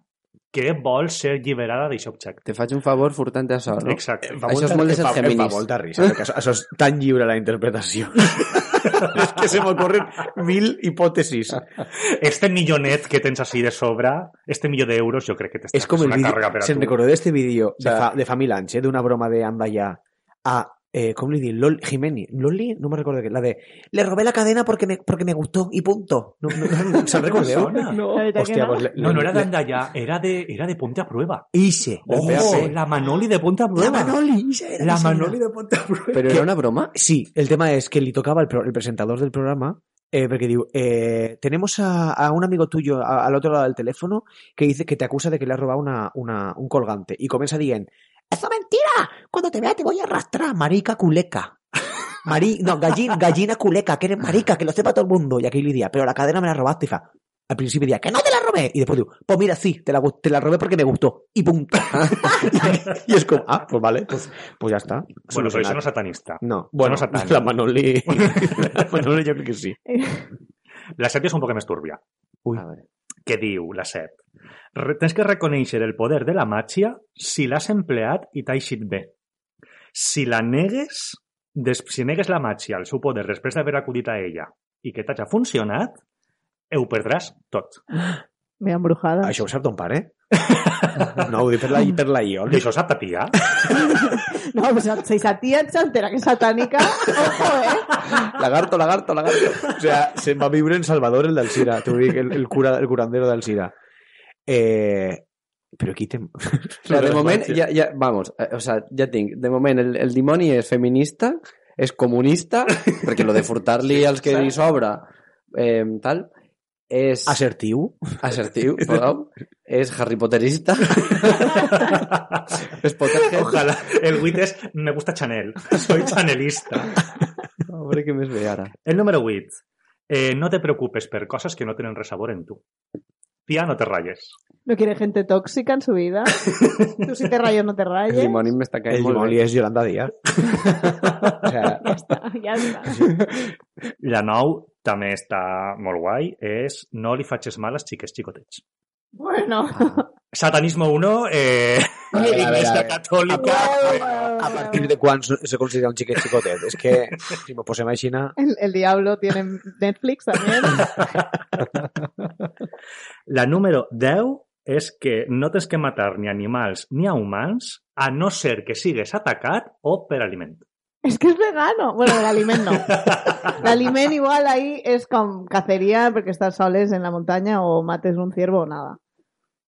Speaker 1: que vol ser alliberada d'això objecte.
Speaker 3: Te faig un favor furtant-te això, no?
Speaker 1: Exacte.
Speaker 4: Em fa
Speaker 3: Això és
Speaker 4: molta-
Speaker 3: molt de
Speaker 4: em fa-
Speaker 3: ser
Speaker 4: Em
Speaker 3: feminista.
Speaker 4: fa molta risa, perquè això, això és tan lliure la interpretació. és que se m'ocorren mil hipòtesis.
Speaker 1: Este millonet que tens així de sobre, este milló d'euros, jo crec que t'està
Speaker 4: és com el
Speaker 1: una
Speaker 4: vídeo...
Speaker 1: càrrega per a
Speaker 4: Se'n
Speaker 1: tu.
Speaker 4: recordeu d'este vídeo de,
Speaker 3: O sea-
Speaker 4: fa, de fa mil anys, eh, d'una broma de anda ja a... Eh, com li dic? Lol, Jimeni. Loli? No me recordo. que- La de... Le robé la cadena porque me, porque me gustó y punto. No, no, no, ¿Se'n recordeu?
Speaker 1: Sona.
Speaker 5: No, no.
Speaker 4: pues le-
Speaker 1: No, no
Speaker 4: le-
Speaker 1: era
Speaker 4: le-
Speaker 1: d'andallar, era de, era de ponte a prueba.
Speaker 4: Ixe.
Speaker 1: Ojo,
Speaker 3: PAC.
Speaker 1: la Manoli de ponte a
Speaker 4: La
Speaker 1: prueba.
Speaker 4: Manoli. Ixe era
Speaker 1: La
Speaker 4: mi senyora.
Speaker 1: Manoli de ponte a prueba.
Speaker 3: Però era una broma?
Speaker 4: Sí, el tema es que le tocaba el, pro- el presentador del programa, eh, porque digo, eh, tenemos a, a un amigo tuyo a- al otro lado del teléfono que dice que te acusa de que le has robado una, una- un colgante y comienza diciendo, ¡Eso mentira! Cuando te vea te voy a arrastrar, marica culeca. Mari, no, gallina, gallina culeca, que eres marica, que lo sepa todo el mundo. Y aquí le diría, pero la cadena me la robaste, y fa, al principio decía, que no te la robé. Y después digo, pues mira, sí, te la, gu- te la robé porque me gustó. Y punto. y es como, ah, pues vale, pues, pues ya está.
Speaker 1: Bueno, però
Speaker 4: Solucionado.
Speaker 1: això no és satanista.
Speaker 4: No,
Speaker 1: bueno,
Speaker 4: bueno,
Speaker 1: Satán.
Speaker 4: la Manoli. la Manoli yo creo que sí.
Speaker 1: La set és un poc més turbia.
Speaker 4: Ui.
Speaker 3: A veure.
Speaker 1: Què diu la set? Re- Tens que reconèixer el poder de la màgia si l'has empleat i t'ha eixit bé. Si la negues, des, si negues la màgia, el seu poder, després d'haver acudit a ella i que t'hagi funcionat, ho perdràs tot.
Speaker 5: Me embrujada.
Speaker 4: Això ho sap ton pare? No, ho dic per la, per la Iol.
Speaker 1: Això sap ta tia.
Speaker 5: No, pues si esa tía se entera que es satánica, ojo, ¿eh?
Speaker 3: Lagarto, lagarto, lagarto.
Speaker 4: O sea, se'n va viure en Salvador, el d'Alcira. T'ho dic, el, el, cura, el curandero d'Alcira. Eh, però qui té...
Speaker 3: O sea, de moment, ja, ja, vamos, eh, o sea, ja tinc. De moment, el, el dimoni és feminista, és comunista, perquè lo de furtar-li als que li sobra, eh, tal, és
Speaker 4: Assertiu.
Speaker 3: assertiu, perdó, és Harry Potterista, és Potterhead.
Speaker 1: Ojalá. El WIT es me gusta Chanel. Soy chanelista.
Speaker 3: A veure què més ve ara.
Speaker 1: El número 8. Eh, no te preocupes por cosas que no tienen resabor en tú. Tía, no te rayes.
Speaker 5: No quiere gente tóxica en su vida. Tú si te rayas, no te
Speaker 3: El
Speaker 5: rayes.
Speaker 3: limonín m'està
Speaker 4: El
Speaker 3: caient molt
Speaker 4: Molly
Speaker 3: bé.
Speaker 4: és Yolanda Díaz. o sea,
Speaker 5: Ya está, Ah, ya está.
Speaker 1: La nou també està molt guai, és no li facis mal als xiques xicotets.
Speaker 5: Bueno.
Speaker 1: Satanismo 1, eh,
Speaker 4: A veure, a veure, a
Speaker 1: Iglesia
Speaker 4: veure.
Speaker 1: Católica...
Speaker 4: a partir de quan se considera un xiquet xicotet? És que, si m'ho posem així, na-
Speaker 5: El, el Diablo tiene Netflix también.
Speaker 1: La número 10 és que no tens que matar ni animals ni a humans a no ser que sigues atacat o per aliment.
Speaker 5: Es que es vegano. Bueno, el alimento no. El alimento igual ahí es con cacería porque estás soles en la montaña o mates un ciervo o nada.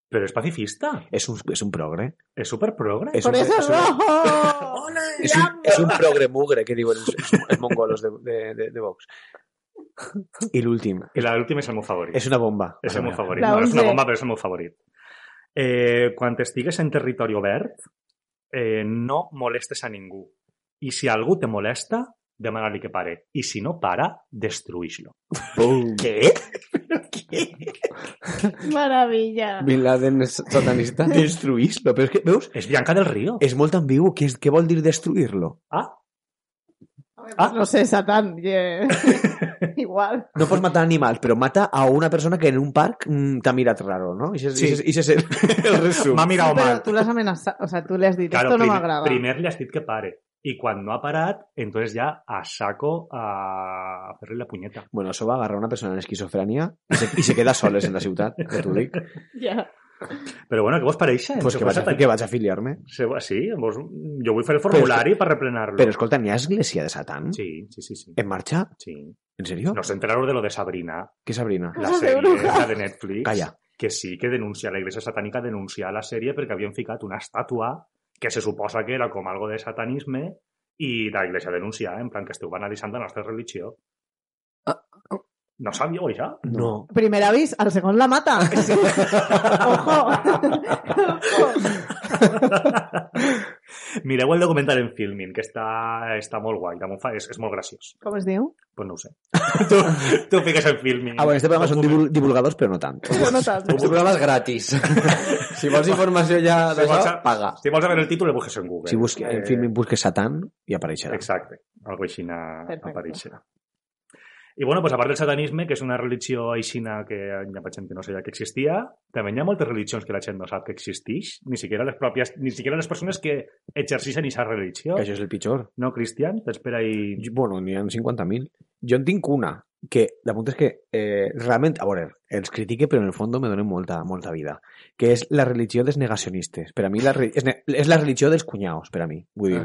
Speaker 1: Però és pacifista.
Speaker 4: és un, és un progre.
Speaker 1: És superprogre.
Speaker 4: És
Speaker 5: Por
Speaker 4: un,
Speaker 5: eso es
Speaker 4: és un,
Speaker 5: rojo.
Speaker 4: és un, és un progre mugre, que diuen els, els, els mongolos de, de, de, de Vox. I l'últim.
Speaker 1: I l'últim és el meu favorit.
Speaker 4: És una bomba.
Speaker 1: És el meu favorit.
Speaker 5: La
Speaker 1: No, és una
Speaker 5: 11.
Speaker 1: bomba, però és el meu favorit. Eh, quan estigues en territori obert, eh, no molestes a ningú. I si algú te molesta, demana-li que pare. I si no para, destruís-lo. Què?
Speaker 5: Maravilla.
Speaker 3: Bin Laden és satanista.
Speaker 4: Destruir-lo. Però és que, veus?
Speaker 1: És Bianca del Río.
Speaker 4: És molt ambigu. Què, és- què vol dir destruir-lo?
Speaker 1: Ah,
Speaker 5: Pues no sé, Satán. ye- Igual.
Speaker 4: No pots matar animals, però mata a una persona que en un parc mm, t'ha mirat raro, no? I és,
Speaker 1: Sí.
Speaker 4: sí. és, és el, el resum.
Speaker 1: m'ha mirat
Speaker 5: Pero
Speaker 1: mal.
Speaker 5: tú las amenazas, o sea, tú le has dicho,
Speaker 1: Claro,
Speaker 5: esto no me
Speaker 1: primer,
Speaker 5: agrada.
Speaker 1: primer li has dit que pare. I quan no ha parat, entonces ja a saco a fer-li la punyeta.
Speaker 4: Bueno, això va agarrar una persona en esquizofrènia i se, i se queda soles en la ciutat, ja t'ho dic.
Speaker 1: Eh,
Speaker 5: Ya.
Speaker 1: Però bueno, què vos pareix?
Speaker 4: pues que, vaig a, que vaig a afiliar-me.
Speaker 1: Sí, vos... jo vull fer el
Speaker 4: és que-
Speaker 1: formulari per replenar-lo.
Speaker 4: Però escolta, n'hi ha església de Satan?
Speaker 1: Sí, sí, sí, sí.
Speaker 4: En marxa?
Speaker 1: Sí.
Speaker 4: En serio?
Speaker 1: Nos enteraron de lo de Sabrina,
Speaker 4: ¿Qué Sabrina?
Speaker 1: la
Speaker 5: Cosas de
Speaker 1: serie
Speaker 5: brujas.
Speaker 1: esa de Netflix.
Speaker 4: Calla.
Speaker 1: Que sí, que denuncia, la iglesia satánica denuncia la serie porque habían ficat una estatua que se suposa que era como algo de satanisme y la iglesia denuncia, en plan que esteu banalitzant la nostra religió.
Speaker 3: Ah.
Speaker 5: oh.
Speaker 1: No sabíeu això?
Speaker 4: No.
Speaker 5: Primer avís, al segundo la mata. Ojo.
Speaker 1: Mireu el documental en Filmin, que està, està molt guai, damunt fa, és, és molt graciós.
Speaker 5: ¿Cómo es diu?
Speaker 1: Pues no ho sé. tu, tu fiques en Filmin.
Speaker 4: Ah, bueno, este programa son divul- divulgadors, pero no tanto.
Speaker 5: Jo no tanto.
Speaker 4: pues,
Speaker 3: Este programa és gratis. si vols informació ja
Speaker 1: Si
Speaker 3: d'això, pues,
Speaker 1: vols a-
Speaker 3: paga.
Speaker 1: Si vols saber el títol, el busques en Google.
Speaker 4: Si busques, en
Speaker 1: Eh,
Speaker 4: Filmin busques Satán y apareixerà.
Speaker 1: Exacte, algo aixina
Speaker 5: Perfecte.
Speaker 1: apareixerà. I bueno, pues, a part del satanisme, que és una religió aixina que hi ha gent que no sabia que existia, també hi ha moltes religions que la gent no sap que existeix, ni siquiera les pròpies, ni siquiera les persones que exerceixen aquesta religió.
Speaker 4: Que això és el pitjor.
Speaker 1: No, Cristian? T'espera i...
Speaker 4: Jo- Bueno, n'hi ha 50.000. Jo en tinc una, que la punta és que eh, realment, a veure, els critique, però en el fons me donen molta, molta vida, que és la religió dels negacionistes. Per a mi la, re- és, ne- és la religió dels cunyaos, per a mi. Vull dir,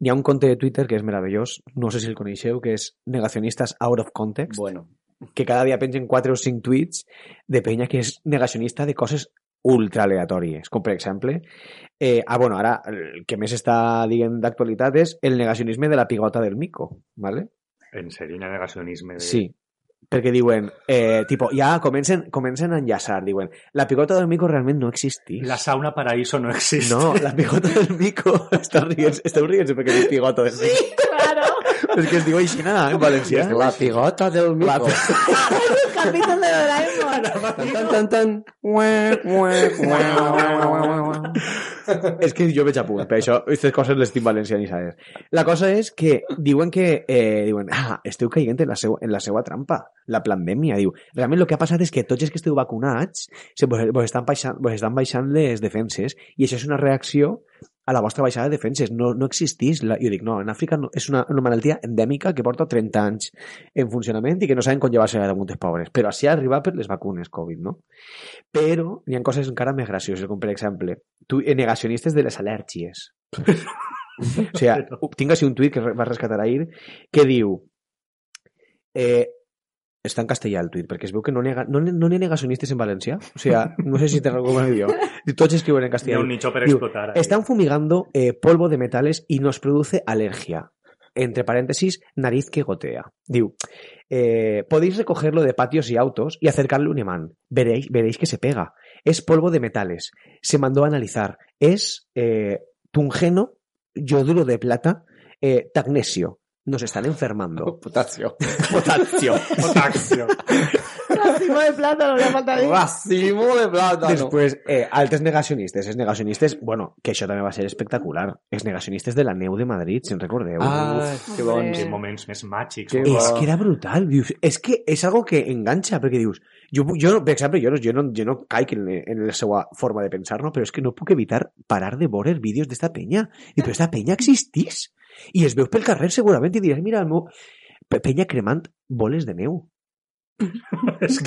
Speaker 4: n'hi ha un compte de Twitter que és meravellós, no sé si el coneixeu, que és Negacionistes Out of Context.
Speaker 3: Bueno.
Speaker 4: que cada dia pengen 4 o 5 tuits de penya que és negacionista de coses ultra aleatòries, com per exemple eh, ah, bueno, ara el que més està diguem d'actualitat és el negacionisme de la pigota del mico, ¿vale?
Speaker 1: En sèrio, hi ha negacionisme. De...
Speaker 4: Sí, perquè diuen, eh, tipo, ja comencen, comencen a enllaçar, diuen, la pigota del mico realment no existís.
Speaker 1: La sauna paraíso no existe.
Speaker 4: No, la pigota del mico, esteu rient, esteu rient perquè diu pigota del mico. Sí.
Speaker 5: Claro.
Speaker 4: És que es diu així, nada, en valencià.
Speaker 3: La pigota del
Speaker 4: La
Speaker 3: mico.
Speaker 4: pi-
Speaker 5: Capítulo de Doraemon.
Speaker 3: Tan, tan, tan, tan. Ué, ué, ué, ué, ué, ué, ué.
Speaker 4: És que jo veig a punt, per això aquestes coses les tinc valencianitzades. La cosa és que diuen que eh, diuen, ah, esteu caient en la, seu, en la seva trampa, la pandèmia. Diu, realment el que ha passat és que tots els que esteu vacunats se vos, vos, estan baixant, vos estan baixant les defenses i això és una reacció a la vostra baixada de defenses. No, no existís. La... Jo dic, no, en Àfrica no, és una, una malaltia endèmica que porta 30 anys en funcionament i que no saben com llevar-se de moltes pobres. Però així ha arribat per les vacunes Covid, no? Però hi ha coses encara més gracioses, com per exemple, tu, eh, negacionistes de les al·lèrgies. o sigui, tinc així un tuit que re- va rescatar ahir que diu... Eh, està en castellà el tuit, perquè es veu que no n'hi ha, no, n'hi- no n'hi ha negacionistes en valencià. O sigui, no sé si té algú com jo. Tots escriuen
Speaker 1: Hi
Speaker 4: en
Speaker 1: ha
Speaker 4: castellà.
Speaker 1: un nicho per
Speaker 4: Diu,
Speaker 1: explotar. ahí.
Speaker 4: Están fumigando eh, polvo de metales y nos produce alergia. entre parèntesis, nariz que gotea. Diu, eh, podéis recogerlo de patios y autos y acercarle un imán. Veréis, veréis que se pega. Es polvo de metales. Se mandó a analizar. Es eh, tungeno, yoduro de plata, eh, tagnesio. Nos están enfermando.
Speaker 3: Potasio.
Speaker 4: Potasio.
Speaker 1: Potasio.
Speaker 5: Racimo de plátano, le falta dir.
Speaker 3: Racimo de plátano.
Speaker 4: Després, eh, altres negacionistes. Els negacionistes, bueno, que això també va ser espectacular. Els negacionistes de la Neu de Madrid, si en recordeu.
Speaker 3: Ah, que bons.
Speaker 5: Hombre.
Speaker 1: Quins moments més màgics.
Speaker 3: Que
Speaker 4: És
Speaker 3: guau.
Speaker 4: que era brutal, dius. És que és algo que enganxa, perquè dius... Jo, puc- jo, no- per exemple, jo no, jo no, jo no caic en, en la seva forma de pensar-no, però és que no puc evitar parar de veure els vídeos d'esta penya. I però esta penya existís? I es veus pel carrer segurament i diràs, mira, el meu... pe- penya cremant boles de neu.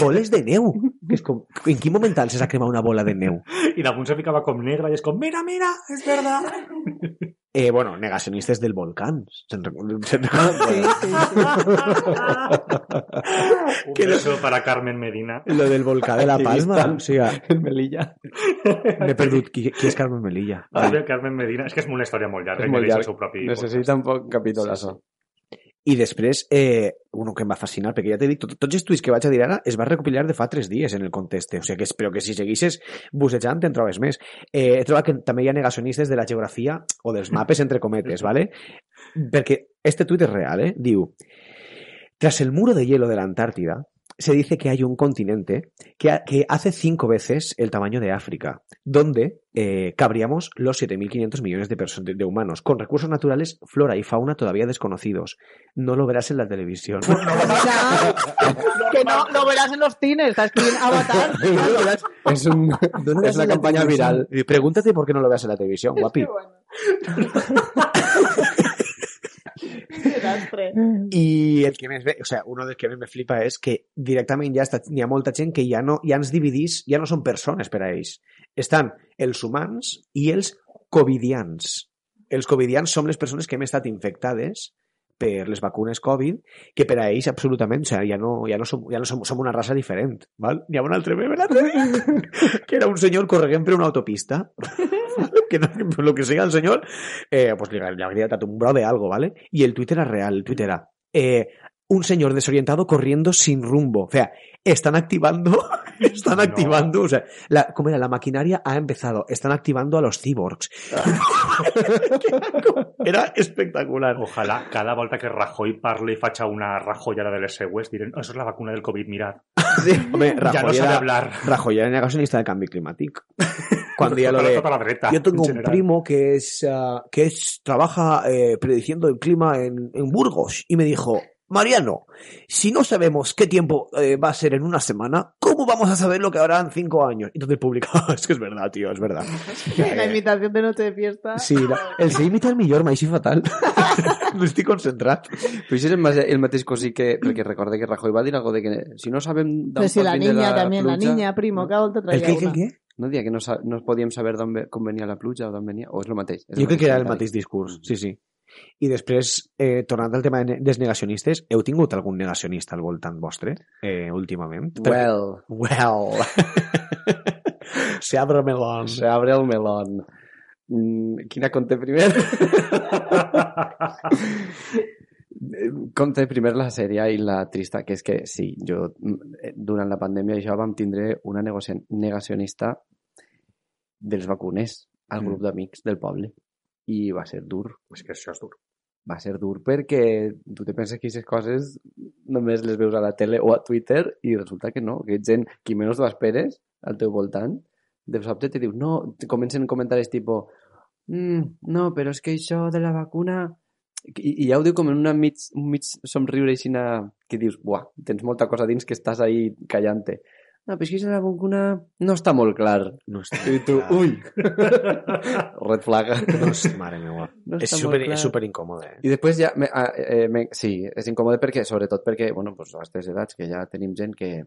Speaker 4: Boles de neu. Que és com, en quin moment alces a cremar una bola de neu?
Speaker 1: I damunt se ficava com negra i és com, mira, mira, és verdad.
Speaker 4: Eh, bueno, negacionistes del volcán. Se'n recor- se'n
Speaker 3: Ah,
Speaker 4: recor-
Speaker 3: bueno.
Speaker 1: Un
Speaker 4: Que no-
Speaker 1: beso para Carmen Medina.
Speaker 4: Lo del volcán de la Palma. O sigui,
Speaker 3: En Melilla.
Speaker 4: m'he perdut. Qui, qui és Carmen Melilla?
Speaker 1: Ah. Carmen Medina. És que és una història molt llarga.
Speaker 3: És
Speaker 1: i
Speaker 3: molt
Speaker 1: mereix el
Speaker 3: llarg.
Speaker 1: seu propi
Speaker 3: Necessita un poc capítol, això.
Speaker 4: I després, eh, un que em va fascinar, perquè ja t'he dit, tot, tots els tuits que vaig a dir ara es va recopilar de fa tres dies en el conteste, o sigui que espero que si seguisses bussejant te'n trobes més. Eh, troba que també hi ha negacionistes de la geografia o dels mapes, entre cometes, ¿vale? perquè este tuit és real, eh? Diu, tras el muro de hielo de la Antártida, se dice que hay un continente que, ha- que hace cinco veces el tamaño de África, donde eh, cabríamos los 7.500 millones de, perso- de- de humanos, con recursos naturales, flora y fauna todavía desconocidos. No lo verás en la televisión.
Speaker 5: Que no, no verás en los cines, está escribiendo Avatar.
Speaker 3: És, un,
Speaker 4: No lo verás
Speaker 3: és la
Speaker 4: en
Speaker 3: campanya
Speaker 4: televisión.
Speaker 3: viral.
Speaker 4: Y Pregúntate por qué no lo veas en la televisión, guapi.
Speaker 5: Desastre.
Speaker 4: I el que més ve, o sea, uno dels que més me flipa és que directament ja està, hi ha molta gent que ja no, ja ens dividís, ja no són persones per a ells. Estan els humans i els covidians. Els covidians són les persones que hem estat infectades per les vacunes Covid, que per a ells absolutament, o sea, ja no, ja no, som, ja no som, som una raça diferent, val? N'hi ha un altre meme l'altre dia, que era un senyor corregent per una autopista, que no, lo que siga el senyor, eh, pues li, li hauria dat un bro de algo, ¿vale? Y el Twitter era real, el Twitter era eh, un señor desorientado corriendo sin rumbo. O sea, están activando, están
Speaker 1: No.
Speaker 4: activando, o sea, la, ¿cómo era? La maquinaria ha empezado, están activando a los cyborgs. era espectacular.
Speaker 1: Ojalá cada volta que Rajoy parle i facha una rajoyada de les seues diren eso es la vacuna del Covid, mirad.
Speaker 4: Hombre,
Speaker 1: ya no
Speaker 4: Rajoy,
Speaker 1: sabe
Speaker 4: era,
Speaker 1: hablar.
Speaker 4: Rajoy era negacionista del cambio climático. Cuando ya lo
Speaker 1: Tota la-
Speaker 4: de...
Speaker 1: tota la dreta,
Speaker 4: Yo tengo
Speaker 1: en
Speaker 4: un
Speaker 1: general.
Speaker 4: primo que es ah, que es trabaja eh, prediciendo el clima en, en Burgos y me dijo Mariano, si no sabemos qué tiempo eh, va a ser en una semana, ¿cómo vamos a saber lo que habrá en cinco años? Y entonces publicaba, es que es verdad, tío, es verdad.
Speaker 5: La imitación de Noche de Fiesta.
Speaker 4: Sí, la- el se imita el millor, m'així fatal. no estic concentrat.
Speaker 3: Però això és el, mas- el mateix cosí que... Perquè recorde que Rajoy va dir algo de que si no sabem d'on
Speaker 5: Pero si Pues la
Speaker 3: pot vindre
Speaker 5: niña también, la
Speaker 3: pluja,
Speaker 5: niña, primo, cada volta
Speaker 4: El
Speaker 5: traía
Speaker 4: què, el què, el
Speaker 5: una.
Speaker 4: què?
Speaker 3: No dia que no, sa- no podíem saber d'on ve- com venia la pluja o d'on venia... O és el mateix. Mm. És
Speaker 4: Jo crec que era el
Speaker 3: comentari.
Speaker 4: mateix discurs, sí, sí. I després, eh, tornant al tema de ne- dels negacionistes, heu tingut algun negacionista al voltant vostre, eh, últimament?
Speaker 3: Well,
Speaker 4: Well. Se abre melón.
Speaker 3: se abre el melón. Mm, quina conté primer? Conté primer la sèria i la trista, que és que sí, jo mm, eh, durant la pandèmia i això vam tindre una negoci- negacionista dels vacunes al
Speaker 4: Mm.
Speaker 3: grup d'amics del poble. I va ser dur,
Speaker 1: És Pues que això és dur.
Speaker 3: va ser dur perquè tu te penses que aquestes coses només les veus a la tele o a Twitter i resulta que no, que ets gent qui menys t'ho esperes al teu voltant, de sobte te diu, no, te comencen comentaris tipus mm, no, però és que això de la vacuna i, i ja ho diu com en una mig, un mig somriure així que dius, buah, tens molta cosa dins que estàs ahí callant-te. No, però és que això de la vacuna no està molt clar.
Speaker 4: No està
Speaker 3: I tu,
Speaker 4: clar.
Speaker 3: ui, red flag.
Speaker 4: No, és- mare meva.
Speaker 3: No
Speaker 4: és,
Speaker 3: està molt
Speaker 4: super,
Speaker 3: clar.
Speaker 4: és super incòmode. Eh?
Speaker 3: I després ja... Me, ah, eh, me, sí, és incòmode perquè, sobretot perquè, bueno, pues, a aquestes edats que ja tenim gent que...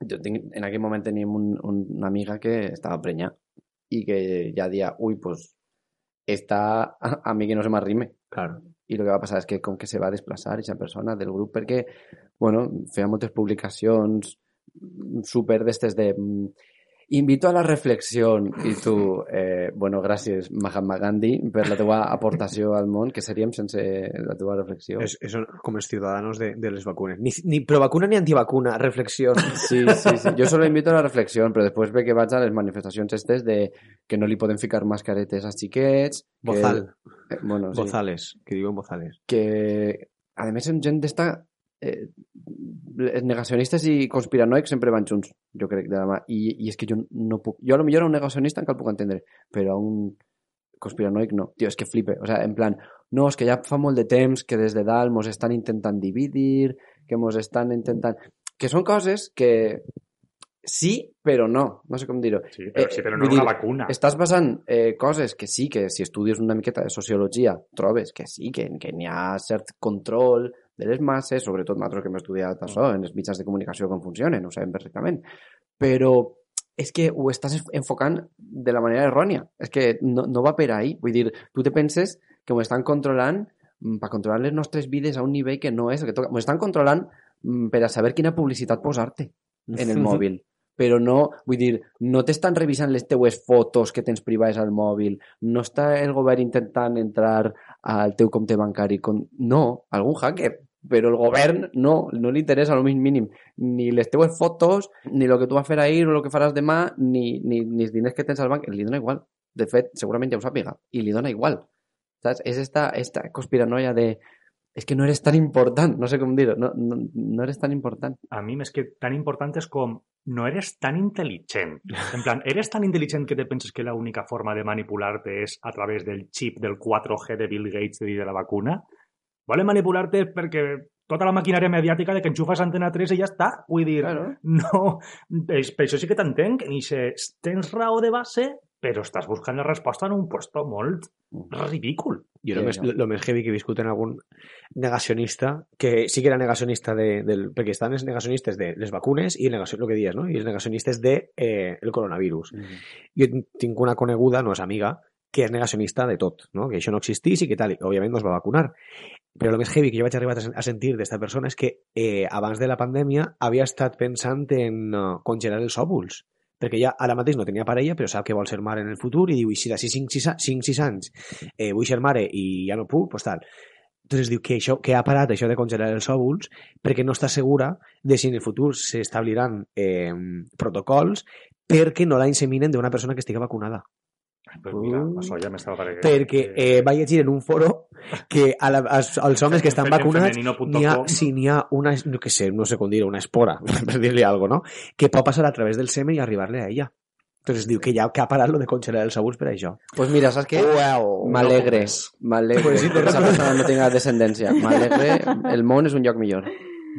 Speaker 3: Jo tinc, en aquell moment tenim un, un, una amiga que estava prenya i que ja dia, ui, pues, està a, a mi que no se m'arrime.
Speaker 4: Claro.
Speaker 3: I el que va passar és que com que se va desplaçar aquesta persona del grup perquè, bueno, feia moltes publicacions super d'estes de... mm, invito a la reflexió i tu, eh, bueno, gràcies Mahatma Gandhi per la teva aportació al món, que seríem sense la teva reflexió.
Speaker 4: Es- eso como es ciudadanos de, de las vacunas. Ni, ni pro vacuna ni antivacuna, reflexión.
Speaker 3: Sí, sí, sí. Jo solo invito a la reflexió, però després ve que vaig a les manifestacions estes de que no li poden ficar mascaretes als xiquets... Que,
Speaker 4: Bozal,
Speaker 3: Eh, bueno, sí.
Speaker 4: bozales, que digo en bozales.
Speaker 3: que a més són gent d'esta eh, els negacionistes i conspiranoics sempre van junts, jo crec, de la mà. I, i és que jo no puc... Jo a lo millor a un negacionista encara el puc entendre, però a un conspiranoic no. Tio, és que flipe. O sea, en plan, no, és que ja fa molt de temps que des de dalt mos estan intentant dividir, que mos estan intentant... Que són coses que sí, però no. No sé com dir-ho.
Speaker 1: Sí, pero,
Speaker 3: Eh,
Speaker 1: sí, pero
Speaker 3: eh,
Speaker 1: no
Speaker 3: vull
Speaker 1: una
Speaker 3: dir,
Speaker 1: vacuna.
Speaker 3: Estàs basant eh, coses que sí, que si estudies una miqueta de sociologia trobes que sí, que que n'hi ha cert control de les masses, sobretot nosaltres que hem estudiat això en els mitjans de comunicació com funcionen, ho sabem perfectament, però és que ho estàs enfocant de la manera errònia, és que no, no va per ahí, vull dir, tu te penses que ho estan controlant mm, per controlar les nostres vides a un nivell que no és el que toca, ho estan controlant mm, per a saber quina publicitat posar-te en el mòbil. Però no, vull dir, no t'estan revisant les teues este fotos que tens privades al mòbil, no està el govern intentant entrar al teu compte bancari. Con... No, algun hacker, però el govern no, no li interessa el més mínim. Ni les teues fotos, ni el que tu vas fer ahir o el que faràs demà, ni, ni, ni els diners que tens al banc, li dona igual. De fet, segurament ja ho sàpiga, i li dona igual. Saps? És esta, esta conspiranoia de és que no eres tan important, no sé com dir-ho, no, no, no eres tan important.
Speaker 1: a mí me es que tan importantes como no eres tan inteligente. En plan, ¿eres tan inteligente que te piensas que la única forma de manipularte es a través del chip del 4G de Bill Gates y de la vacuna? ¿Vale manipularte porque toda la maquinaria mediática de que enchufas Antena 3 y ya está? Vull dir,
Speaker 3: Claro.
Speaker 1: no... És, per això sí que t'entenc, i se, tens raó de base, però estàs buscant la resposta en un puesto molt ridícul.
Speaker 4: Yo
Speaker 3: Sí,
Speaker 4: lo, más,
Speaker 3: no.
Speaker 4: lo más heavy que discuten algún negacionista, que sí que era negacionista de, del... Porque están los negacionistas de las vacunas y el negacio- lo que digas, ¿no? Y los negacionistas de eh, el coronavirus. Jo tinc una coneguda, no és amiga, que és negacionista de tot, no? que això no existís i que tal, i òbviament no es va vacunar. Però el més heavy que jo vaig arribar a sen- a sentir d'esta persona és que eh, abans de la pandèmia havia estat pensant en eh, congelar els òvuls, perquè ja ara mateix no tenia parella, però sap que vol ser mare en el futur i diu, i si d'ací 5-6 anys eh, vull ser mare i ja no puc, doncs tal. Entonces diu que, això, que ha parat això de congelar els òvuls perquè no està segura de si en el futur s'establiran eh, protocols perquè no la inseminen d'una persona que estigui vacunada.
Speaker 1: Pues mira,
Speaker 4: Uh.
Speaker 1: això ja m'estava parlant.
Speaker 4: Perquè eh, va llegir en un foro que a la, als, als homes que estan vacunats n'hi ha, si n'hi ha una, no que sé, no sé com dir una espora, per dir-li alguna cosa, no? que pot passar a través del semen i arribar-li a ella. Entonces diu que ja que ha parat lo de congelar els òvuls per això.
Speaker 3: Pues mira, saps què?
Speaker 4: Wow.
Speaker 3: M'alegre, m'alegre.
Speaker 4: Pues
Speaker 3: Pues
Speaker 4: sí,
Speaker 3: sí,
Speaker 4: té
Speaker 3: que esa
Speaker 4: raó.
Speaker 3: persona no tenga descendència. M'alegre, el món és un lloc millor.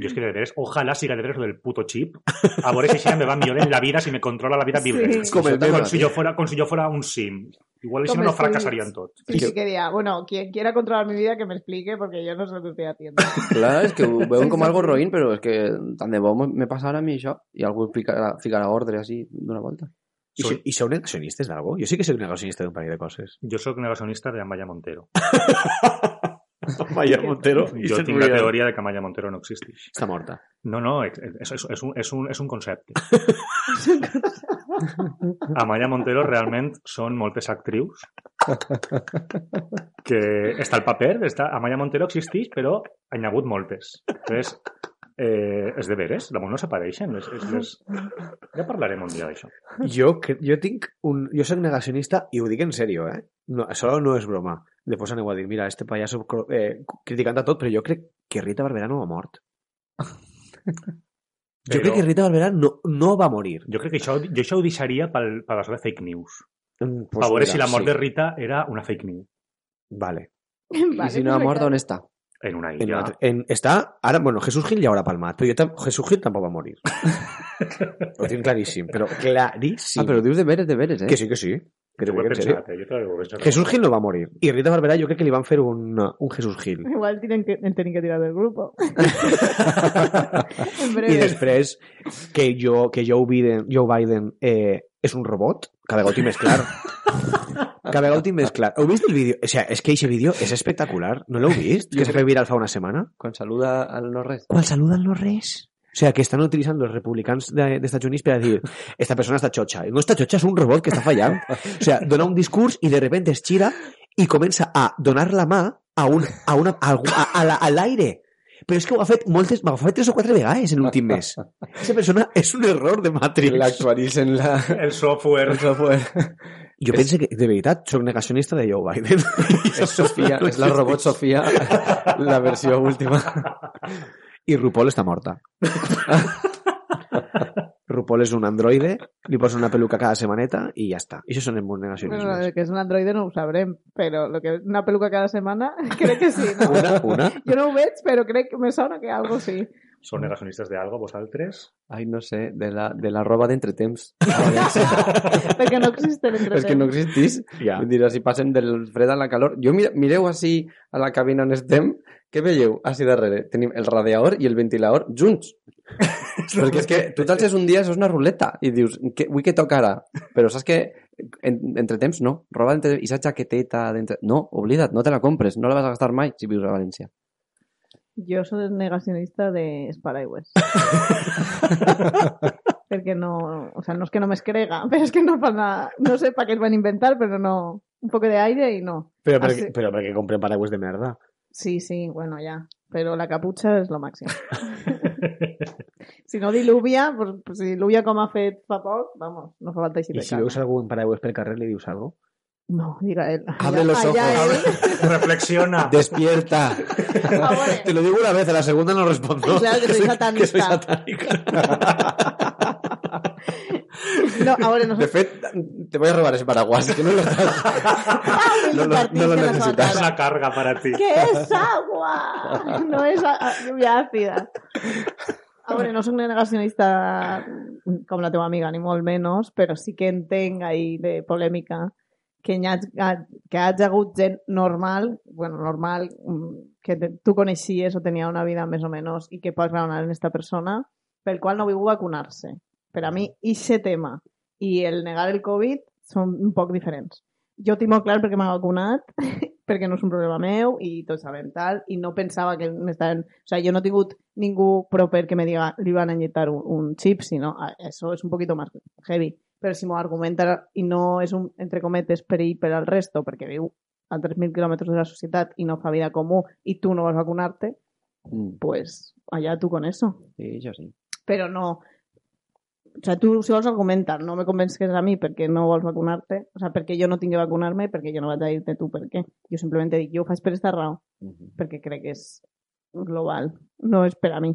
Speaker 1: Yo es que de veras, ojalá siga de veras lo del puto chip. A ver si Sheeran me va mejor en la vida si me controla la vida
Speaker 5: Sí.
Speaker 1: libre.
Speaker 5: Es
Speaker 3: como el meme,
Speaker 1: Con si
Speaker 3: tío.
Speaker 1: yo fuera, con si yo fuera un sim. Igual si no,
Speaker 5: Como
Speaker 1: no
Speaker 5: el Sims.
Speaker 1: fracasarían todos.
Speaker 5: Sí, sí, que diría, bueno, quien quiera controlar mi vida que me explique porque yo no sé lo que estoy haciendo.
Speaker 3: Clar, és que ho veuen com algo roïn, però és que tant de bo me passarà a mi això i algú ficarà, ficarà ordre així d'una volta.
Speaker 4: I, so- I sou negacionistes d'algo? Jo sí que soc negacionista d'un parell de coses.
Speaker 1: Yo soy negacionista de Amaya Montero.
Speaker 4: Mayer Montero.
Speaker 1: Yo tengo la teoría de que Amaya Montero no existe.
Speaker 4: Està morta.
Speaker 1: No, no, es, es- es- es un, es, un, es un concepte. Amaya Montero realment són moltes actrius que està el paper, està, Amaya Montero existeix, però n'hi ha hagut moltes. Entonces, eh, és de veres, damunt no s'apareixen. Les, les, les... Ja parlarem un dia d'això.
Speaker 4: Jo, cre- jo tinc un... Jo soc negacionista i ho dic en sèrio, eh? No, això no és broma. Després aneu a dir, mira, este pallasso cro- eh, criticant a tot, però jo crec que Rita Barberà no ha mort. Jo
Speaker 1: Però-
Speaker 4: crec que Rita Barberà no, no va morir.
Speaker 1: Jo crec que això, jo això ho deixaria pel, per la de fake news.
Speaker 4: Mm,
Speaker 1: Pues
Speaker 4: Pues
Speaker 1: a veure
Speaker 4: mira,
Speaker 1: si la mort
Speaker 4: sí.
Speaker 1: de Rita era una fake news
Speaker 4: Vale.
Speaker 3: I si
Speaker 5: pues
Speaker 3: no ha mort, on està?
Speaker 1: en una
Speaker 4: En,
Speaker 1: illa.
Speaker 4: una- en, està... Ara, bueno, Jesús Gil ja haurà palmat, però jo tam... Jesús Gil tampoc va morir. ho tinc claríssim, però claríssim.
Speaker 3: Ah, però ho dius de veres, de veres, eh?
Speaker 4: Que sí, que sí. Que
Speaker 1: Jo
Speaker 4: t'ho
Speaker 1: ho he
Speaker 4: dic en sèrio.
Speaker 1: pensat, eh? jo te ho he pensat.
Speaker 4: Jesús Gil no va morir. Y Rita Barberá yo creo que le iban a hacer un, un Jesús Gil.
Speaker 5: Igual tienen que, tienen que tirar del grupo. en breve.
Speaker 4: I després que, jo, que Joe Biden, Joe Biden eh, és un robot, cada vegada ho tinc més clar. Cada vegada ho tinc més clar. Heu vist el vídeo? O sea, és que aquest vídeo és espectacular. No l'heu vist? Que s'ha fet viral fa una setmana?
Speaker 3: Quan saluda al no res.
Speaker 4: Quan saluden no res. O sea, que están utilizando los republicans de- d'Estats Units per a dir esta persona està xotxa. I No està xotxa, és un robot que està fallant. O sea, dona un discurs i de repente es gira i comença a donar la mà a un, a una, a, algú- a, a la, a l'aire. Però és que ho ha fet moltes, ho ha fet tres o quatre vegades en l'últim mes. Aquesta persona és un error de Matrix.
Speaker 3: L'actualitzen la...
Speaker 1: El software.
Speaker 3: el software.
Speaker 4: Jo penso que, de veritat, sóc negacionista de Joe Biden.
Speaker 3: és Sofia, és la robot Sofia, la versió última.
Speaker 4: I RuPaul està morta. RuPaul és un androide, li posa una peluca cada setmaneta i ja està. I això són els meus
Speaker 5: Bueno,
Speaker 4: negacionismes.
Speaker 5: lo de que es un androide no lo sabrem, pero lo que una peluca cada semana, creo que sí, ¿no?
Speaker 4: Una, una.
Speaker 5: Yo no ho veig, pero creo que me suena que algo sí.
Speaker 1: ¿Son negacionistas de algo vosotros?
Speaker 3: Ai, no sé, de la, de la roba d'entretemps.
Speaker 5: Porque no existe el
Speaker 3: és que no existís.
Speaker 4: Ja.
Speaker 3: Vull dir, si passem del fred a la calor... Jo mira, mireu així a la cabina on estem, què veieu? Així darrere tenim el radiador i el ventilador junts. Perquè és que tu t'alces un dia, això és una ruleta, i dius, que, avui què toca ara? Però saps que en, entre temps no, roba entre, i esa jaqueteta d'entre... No, oblida't, no te la compres, no la vas a gastar mai si vius a València.
Speaker 5: Yo soy negacionista de Sparaigües. Porque no, o sea, no es que no me escrega, pero es que no para nada, no sé para qué van a inventar, pero no, un poco de aire y no.
Speaker 4: Però
Speaker 5: Ah, sí.
Speaker 4: perquè, però perquè comprem paraigües de merda.
Speaker 5: Sí, sí, bueno, ya, pero la capucha es lo máximo. si no diluvia, pues, pues si diluvia como ha fet fa poc, vamos, no fa falta així
Speaker 4: I si veus algú en paraigües pel carrer li dius algo?
Speaker 5: No, dirà ell.
Speaker 3: Abre los
Speaker 5: Allà
Speaker 3: ojos.
Speaker 5: ell.
Speaker 1: Reflexiona.
Speaker 3: Despierta!
Speaker 5: Por favor.
Speaker 4: Ah. lo digo una vez, a la segunda no respondo.
Speaker 5: Claro, que soy satanista. No, ahora
Speaker 3: De
Speaker 5: nosotros
Speaker 3: fet, te voy a robar ese paraguas, que no lo no lo- no lo necesitas.
Speaker 1: Es una carga para ti.
Speaker 5: ¡Que es agua! No es a- a- lluvia ácida. Ahora, no soy una negacionista como la teva amiga, ni molt menos, pero sí que entenc ahí de polémica que hi ha, que hagi hagut gent normal, bueno, normal, mm, que te- tu coneixies o tenia una vida més o menys i que pots raonar en esta persona, pel qual no viu vacunar-se. Per a mi, ixe tema i el negar el Covid són un poc diferents. Jo tinc molt clar perquè m'ha vacunat, perquè no és un problema meu i tots sabem tal, i no pensava que m'estaven... O sigui, jo no he tingut ningú proper que me diga li van a inyectar un, un chip, sinó ah, eso es un poquito más heavy. Però si m'ho argumenta i no és un, entre cometes, perill per al resto, perquè viu a 3.000 quilòmetres de la societat i no fa vida comú i tu no vas vacunar-te,
Speaker 3: Mm,
Speaker 5: pues allá tú con eso.
Speaker 3: Sí, jo sí.
Speaker 5: Però no... O sigui, tu si vols argumentar, no me convences a mi perquè no vols vacunar-te, o sigui, perquè jo no tinc que vacunar-me i perquè jo no vaig a dir-te tu per què. Jo simplement dic, jo ho faig per esta raó,
Speaker 3: Mhm.
Speaker 5: perquè crec que és global, no és per a mi.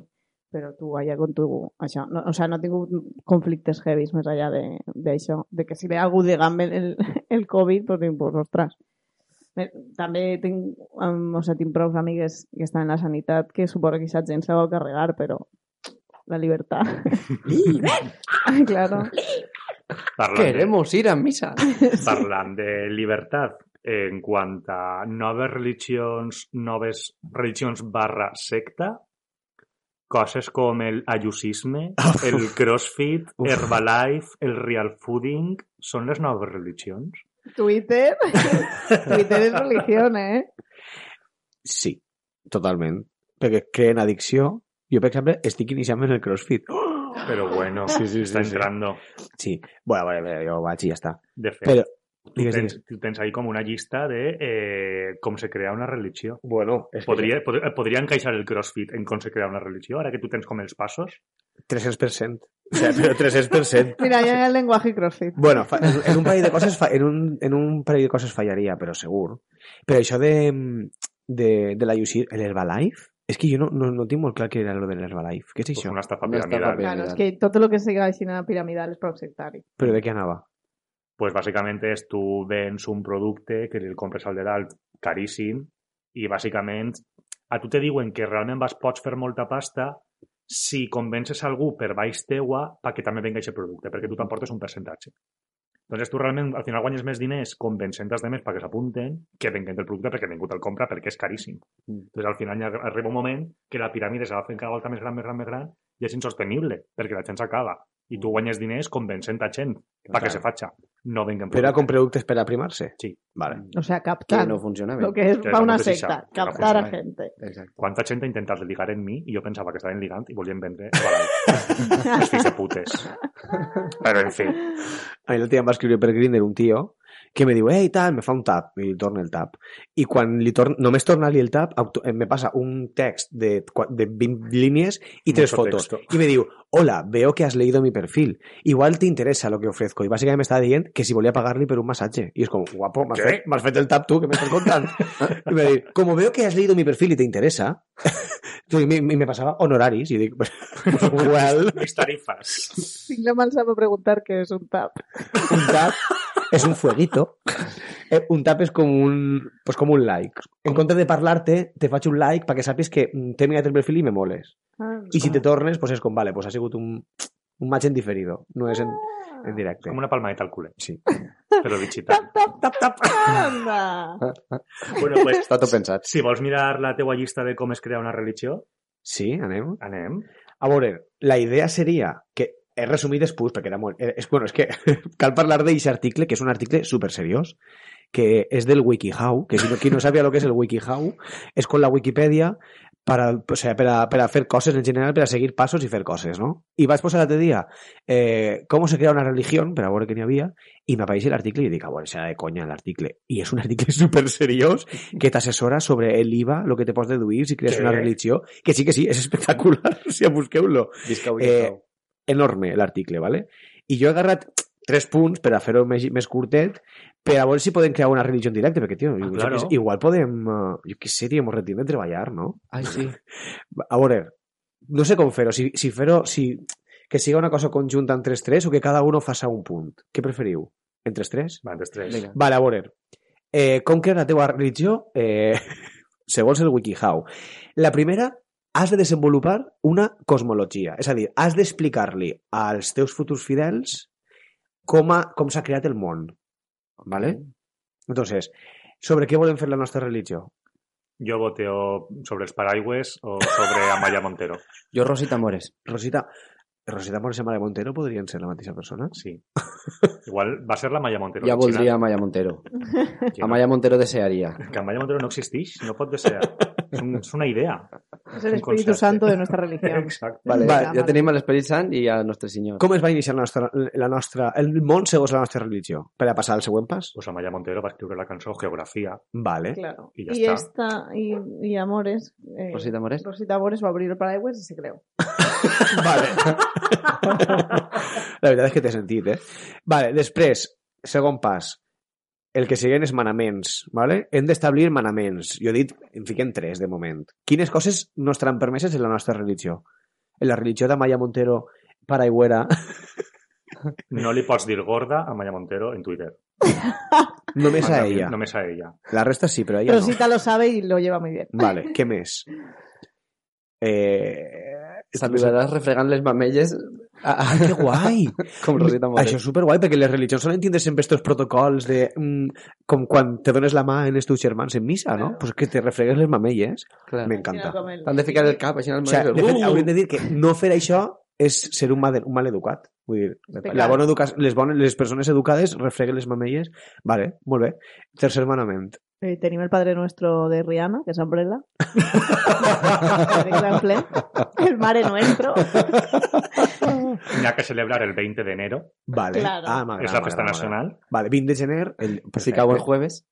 Speaker 5: Però tu, allà con tu, això. No, o sigui, no he tingut conflictes heavies més allà de- d'això. De, de que si ve algú de gambe el, el Covid, doncs dic, pues, ostres. Eh, També tinc, um, o sigui, tinc prou amigues que estan en la sanitat que suposo que aquesta gent se vol carregar, però la libertad. Ah, claro.
Speaker 1: Parlant,
Speaker 3: Queremos ir a misa.
Speaker 1: parlant de libertad en cuanto a noves religions, noves religions barra secta, coses com el ayusisme, el crossfit,
Speaker 4: Uf.
Speaker 1: Herbalife, el real fooding, són les noves religions?
Speaker 5: Twitter. Twitter es religión, ¿eh?
Speaker 4: Sí, totalment. Perquè creen addicció. Jo, per exemple, estic iniciant en el crossfit.
Speaker 1: Però bueno,
Speaker 4: Sí, sí,
Speaker 1: està
Speaker 4: sí, sí.
Speaker 1: entrando.
Speaker 4: Sí, bueno, vale, vale, jo vaig i ja està.
Speaker 1: De fet,
Speaker 4: Però,
Speaker 1: tu
Speaker 4: digues,
Speaker 1: tens,
Speaker 4: digues.
Speaker 1: tu tens ahí com una llista de eh, com se crea una religió.
Speaker 4: Bueno, és
Speaker 1: Podria, pod podria encaixar el crossfit en com se crea una religió, ara que tu tens com els passos?
Speaker 4: 300%. O sea, però 300%.
Speaker 5: Mira, ya en el lenguaje crossfit.
Speaker 4: Bueno, fa- en un parell de coses fa- en un, en un parell de coses fallaria, però segur. Però això de, de, de la UC, el Herbalife, és que jo no, no, no tinc molt clar què era lo de l'Herbalife. Què és
Speaker 1: Pues
Speaker 4: això?
Speaker 1: una estafa
Speaker 3: Una estafa
Speaker 1: piramidal.
Speaker 5: Claro, es que todo lo que se así en la piramidal es prosectario.
Speaker 4: Però de què anava?
Speaker 1: pues básicamente es tu vens un producte que el compres al de dalt caríssim i bàsicament a tu te diuen que realment vas, pots fer molta pasta si convences algú per baix teua perquè també venga aquest producte, perquè tu t'emportes un percentatge. Entonces tu realment al final guanyes més diners convencent els demés perquè s'apunten que venguen el producte perquè ningú te'l compra perquè és caríssim. Entonces al final ja arriba un moment que la piràmide se va fent cada volta més gran, més gran, més gran i és insostenible perquè la gent s'acaba i tu guanyes diners convencent a gent perquè se faci. no venguen
Speaker 4: Però era com productes per aprimar-se.
Speaker 1: Sí.
Speaker 4: Vale.
Speaker 5: O sea,
Speaker 3: que
Speaker 5: captar.
Speaker 3: no funciona bé.
Speaker 5: Lo que es
Speaker 1: Que
Speaker 5: para
Speaker 1: no
Speaker 5: una
Speaker 1: precisa,
Speaker 5: secta.
Speaker 1: que no
Speaker 5: Captar a
Speaker 1: funciona.
Speaker 5: gente.
Speaker 3: Exacte.
Speaker 1: Quanta gent ha intentat ligar en mi i jo pensava que estaven ligant i volien vendre barat. Els fills de putes. Però, en fi,
Speaker 4: A mi l'altre dia em va escriure per Grindr un tio que me diu, ei, tal, me fa un tap, i li torna el tap. I quan li torna, només tornar-li el tap, auto- eh, me passa un text de, cua- de 20 línies y tres
Speaker 1: Mucho
Speaker 4: fotos.
Speaker 1: texto.
Speaker 4: Y me digo, hola, veo que has leído mi perfil. Igual te interesa lo que ofrezco. Y básicamente me estaba diciendo que si volía a pagarle por un masaje. Y es como, guapo, más
Speaker 1: ¿Qué?
Speaker 4: fet, m'has fet el tap tú, que me estás contando. y me digo, como veo que has leído mi perfil y te interesa, y me, me pasaba honoraris. Y digo, pues, igual
Speaker 1: mis tarifes.
Speaker 5: Tinc la malsa para preguntar qué es un tap.
Speaker 4: un tap es un fueguito. Eh, Un tap es como un, pues como un like. En contra de parlarte, te faig un like para que sapis que mm, t'he mirat el perfil y me moles.
Speaker 5: Ah,
Speaker 4: Y si te tornes, pues es con, vale, pues ha sido un, un match en diferido. No es en, en directo.
Speaker 1: Com una palmadeta al culer.
Speaker 4: Sí.
Speaker 1: Però bitxita.
Speaker 5: Tap, tap,
Speaker 1: Tap, tap.
Speaker 5: anda.
Speaker 1: Bueno, pues,
Speaker 3: Està tot pensat.
Speaker 1: si vols mirar la teua llista de com es crea una religió,
Speaker 4: Sí, anem.
Speaker 1: anem.
Speaker 4: A veure, la idea seria que he resumit després, perquè era molt... eh, És, bueno, és que cal parlar d'aquest article, que és un article super seriós, que és del WikiHow, que si no, qui no sabia lo que és el WikiHow, és con la Wikipedia para, o sea, per, a, per a fer coses en general, per a seguir passos i fer coses, no? I vaig posar l'altre dia eh, com se crea una religió, per a veure què n'hi havia, i m'apareix l'article i jo dic, ah, bueno, serà de conya l'article. I és un article super seriós que t'assessora sobre l'IVA, el que te pots deduir si crees
Speaker 1: Què?
Speaker 4: una religió, que sí que sí, és espectacular, o sigui, busqueu-lo
Speaker 3: Visca avui
Speaker 4: Eh,
Speaker 3: eh...
Speaker 4: enorme l'article, ¿vale? I jo he agarrat tres punts per a fer-ho més, més curtet, per a veure si podem crear una religió en directe, perquè, tio, ah,
Speaker 1: claro.
Speaker 4: igual podem... eh, Jo què sé, tio, mos retim de treballar, no?
Speaker 3: Ai, sí.
Speaker 4: A veure, no sé com fer-ho, si, si fer-ho... Si, que siga una cosa conjunta entre els tres o que cada uno faça un punt. Què preferiu? Entre els tres?
Speaker 1: Va, dels tres.
Speaker 3: Vinga.
Speaker 4: Vale, a veure. Eh, com crear la teva religió? Eh, segons el WikiHow. La primera, has de desenvolupar una cosmologia. És a dir, has d'explicar-li als teus futurs fidels com, ha- com s'ha creat el món. Vale? Entonces, sobre què volem fer la nostra religió?
Speaker 1: Jo voteo sobre els paraigües o sobre Amaya Montero.
Speaker 3: Jo, Rosita Mores.
Speaker 4: Rosita, Rosita Mora i Mare Montero podrien ser la mateixa persona?
Speaker 1: Sí. Igual va ser la Amaya Montero.
Speaker 3: ja voldria
Speaker 1: original.
Speaker 3: Amaya Montero.
Speaker 1: Que no-
Speaker 3: Amaya Montero desearia.
Speaker 1: Que Amaya Montero no existeix, no pot desear. És, un, és una idea.
Speaker 5: Es el
Speaker 1: Un
Speaker 5: Espíritu
Speaker 1: concepte.
Speaker 5: Santo de nuestra religión.
Speaker 1: Exacte.
Speaker 3: Vale,
Speaker 4: Vale.
Speaker 3: ja tenim l'Esperit Sant i el Nostre Senyor.
Speaker 4: Com es va iniciar la nostra, la nostra, el món segons la nostra religió? Per a passar al següent pas?
Speaker 1: Pues Amaya Montero va escriure la cançó Geografia.
Speaker 4: Vale.
Speaker 5: Claro.
Speaker 1: Y ya
Speaker 5: y
Speaker 1: está.
Speaker 5: esta, y, y Amores. eh,
Speaker 3: Rosita Mores.
Speaker 5: Rosita Amores va a abrir el paraguas y se creó.
Speaker 4: Vale. La veritat és que té sentit, eh? Vale, després, segon pas. El que siguen és manaments, vale? Hem d'establir manaments. Jo he dit, en fiquem tres, de moment. Quines coses no estaran permeses en la nostra religió? En la religió de Maya Montero, paraigüera,
Speaker 1: No li pots dir gorda a Amaya Montero en Twitter.
Speaker 4: només a
Speaker 1: Mandament,
Speaker 4: ella.
Speaker 1: Només a ella.
Speaker 4: La resta sí, però a ella no.
Speaker 5: Rosita lo sabe y lo lleva muy bien.
Speaker 4: Vale, què més? Eh...
Speaker 3: Saludaràs refregant les mamelles a, a,
Speaker 4: Ai, que guai!
Speaker 3: com Rosita Mores.
Speaker 4: Això és superguai, perquè les religions solen tindre sempre estos protocols de... Mm, com quan te dones la mà en els teus germans en missa, no? Pues que te refregues les mamelles.
Speaker 3: Clar.
Speaker 4: M'encanta.
Speaker 5: Mira com el-
Speaker 3: T'han de ficar el cap així en el Uh!
Speaker 4: O sigui, de
Speaker 3: mòbil.
Speaker 4: fet, hauríem de dir que no fer això és ser un mal, un mal educat. Vull dir,
Speaker 5: pecat.
Speaker 4: la bona educa les, bones, les persones educades refreguen les mamelles. Vale, molt bé. Tercer manament.
Speaker 5: Eh, tenim el Padre Nuestro de Rihanna, que es Umbrella. De Clan Flem. el Mare Nuestro.
Speaker 1: N'hi ha que celebrar el 20 de enero.
Speaker 4: Vale.
Speaker 5: Claro.
Speaker 4: Ah, m'agrada,
Speaker 1: És la festa
Speaker 4: m'agrada, m'agrada.
Speaker 1: nacional.
Speaker 4: Vale, 20 de gener... El...
Speaker 3: Si cau el jueves.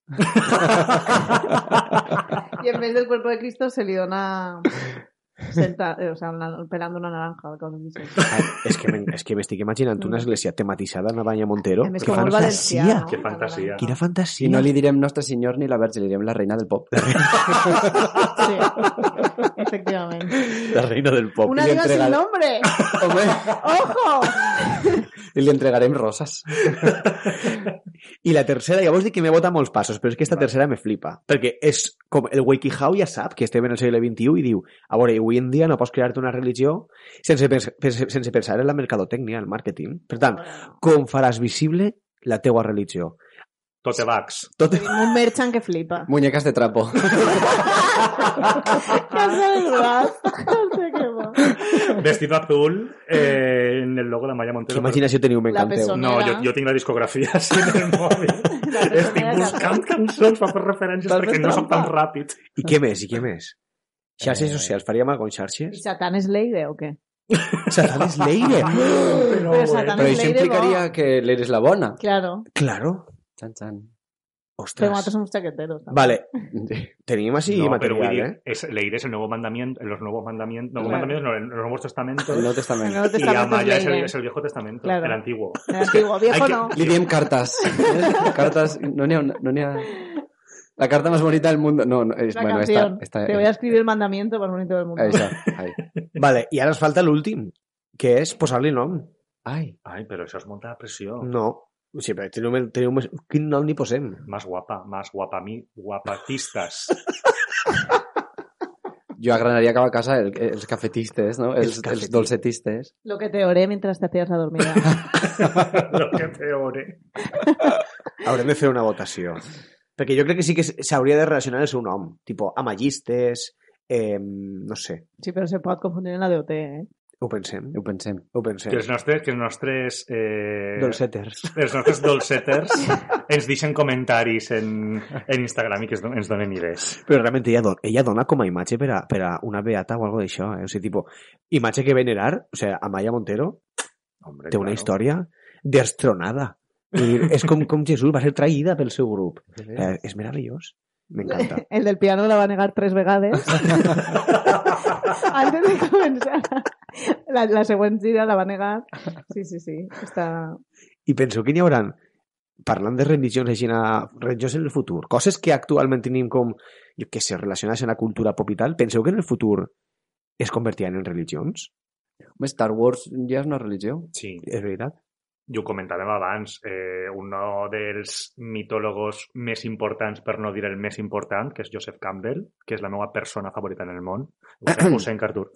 Speaker 5: Y en vez del cuerpo de Cristo se le dona senta- eh, o sea, una- pelando una naranja. o cosas así.
Speaker 4: Ah, és que m'en- és que m'estic imaginant una església tematitzada en Abanya Montero.
Speaker 5: A més,
Speaker 4: Que
Speaker 5: com el
Speaker 4: fantasia!
Speaker 5: valencià, no?
Speaker 1: Que fantasia.
Speaker 4: Quina
Speaker 3: I
Speaker 4: fantasia!
Speaker 3: no li direm Nostre Senyor ni la Verge, li direm la reina del pop.
Speaker 5: Sí, efectivamente.
Speaker 4: La reina del pop.
Speaker 5: Una
Speaker 3: le
Speaker 5: diva sin
Speaker 3: entrega-
Speaker 5: nombre.
Speaker 3: Home,
Speaker 5: ¡Ojo!
Speaker 3: I li entregarem roses.
Speaker 4: I la tercera, ja vos dic que me vota molts passos, però és que esta tercera me flipa. Perquè és com el WikiHow ja sap que estem en el segle XXI i diu, a veure, avui en dia no pots crear-te una religió sense, pens pens- sense pensar en la mercadotècnia, el màrqueting. Per tant, com faràs visible la teua religió?
Speaker 1: Totebags.
Speaker 4: Tot
Speaker 5: Un merchan que flipa.
Speaker 3: Muñecas de trapo.
Speaker 5: Ya sabes más. No sé qué más.
Speaker 1: Vestido azul, eh, en el logo la Maya Montero. pero-
Speaker 4: T'imagines si jo tenia un m'encanteu?
Speaker 5: persona-
Speaker 1: No, jo, jo tinc la discografia així en el mòbil. Estic buscant cançons per fer referències
Speaker 3: Vas fer
Speaker 1: perquè no sóc tan
Speaker 3: trampa.
Speaker 1: ràpid.
Speaker 4: I què més? I què més? Xarxes
Speaker 1: Eh.
Speaker 4: socials. Faríem alguna cosa amb
Speaker 5: I
Speaker 4: xarxes?
Speaker 5: Satan és Leire o què?
Speaker 4: Satan és Leire.
Speaker 1: Però,
Speaker 5: Però
Speaker 1: bueno.
Speaker 5: Satan
Speaker 3: Però
Speaker 5: és
Speaker 3: això
Speaker 5: Leire
Speaker 3: implicaria
Speaker 5: bo.
Speaker 3: que l'eres la bona.
Speaker 5: Claro,
Speaker 4: Claro.
Speaker 3: Chan, chan.
Speaker 5: pero nosotros
Speaker 4: Ostres.
Speaker 5: somos chaqueteros. ¿no?
Speaker 4: Vale,
Speaker 3: Sí.
Speaker 4: tenim així
Speaker 1: no, pero
Speaker 4: material, eh?
Speaker 1: es, Leire es el nuevo mandamiento, los nuevos mandamientos, nuevos
Speaker 5: Claro.
Speaker 1: mandamientos, no, los nuevos testamentos.
Speaker 3: El Nou Testament.
Speaker 5: No te
Speaker 1: y
Speaker 5: estamos
Speaker 1: Amaya es el,
Speaker 5: Leire.
Speaker 1: es el viejo testamento,
Speaker 5: Claro.
Speaker 1: el antiguo.
Speaker 5: El antiguo viejo
Speaker 1: Hay que-
Speaker 5: no.
Speaker 3: Li diem cartes. cartes, no n'hi ha, una- no n'hi ha... La carta més bonita del món. No, no, és,
Speaker 5: La
Speaker 3: bueno,
Speaker 5: canción.
Speaker 3: esta, esta,
Speaker 5: Te voy a escribir el mandamiento más bonito del mundo.
Speaker 3: Això, ai.
Speaker 4: Vale, i ara ens falta l'últim, que és posar-li nom.
Speaker 3: Ai,
Speaker 1: Ay, pero eso es monta la presión.
Speaker 4: No. O sigui, però teniu, teniu, més- quin nom li posem?
Speaker 1: Más guapa, más guapa, mi, guapatistas.
Speaker 3: jo agradaria acabar a casa el, els cafetistes, no? Els,
Speaker 4: cafetistes.
Speaker 3: els dolcetistes.
Speaker 5: Lo que te oré mientras te hacías la dormida.
Speaker 1: Lo que ¿eh? peore.
Speaker 4: Haurem de fer una votació. Perquè jo crec que sí que s'hauria de relacionar el seu nom. Tipo, amallistes, eh, no sé,
Speaker 5: Sí, pero se puede confundir en la DOT, ¿eh?
Speaker 4: ho pensem.
Speaker 3: Ho pensem.
Speaker 4: Ho
Speaker 1: Que
Speaker 4: pensem.
Speaker 1: els nostres, que els nostres, eh,
Speaker 4: Dolceters.
Speaker 1: els nostres dolceters ens deixen comentaris en, en Instagram i que es do- ens donen idees.
Speaker 4: Però realment ella, don- ella dona com a imatge per a, per a una beata o algo d'això. Eh? O sigui, tipo, imatge que venerar, o sigui, Amaya Montero
Speaker 1: Hombre,
Speaker 4: té
Speaker 1: claro.
Speaker 4: una història destronada. Vull dir, És com, com Jesús va ser traïda pel seu grup. Eh, és meravellós. M'encanta.
Speaker 5: El del piano la va a negar tres vegades. Antes de comenzar. La, la següent gira la va a negar. Sí, sí, sí. Está...
Speaker 4: I penso que n'hi haurà, parlant de religions així, a- religions en el futur, coses que actualment tenim com, jo què sé, relacionades amb la cultura pop i tal, penseu que en el futur es convertiran en religions?
Speaker 3: Home, Star Wars ja és una religió.
Speaker 1: Sí.
Speaker 4: És veritat?
Speaker 1: i ho comentàvem abans, eh, un dels mitòlogos més importants, per no dir el més important, que és Joseph Campbell, que és la meva persona favorita en el món, ho sé en Cartur.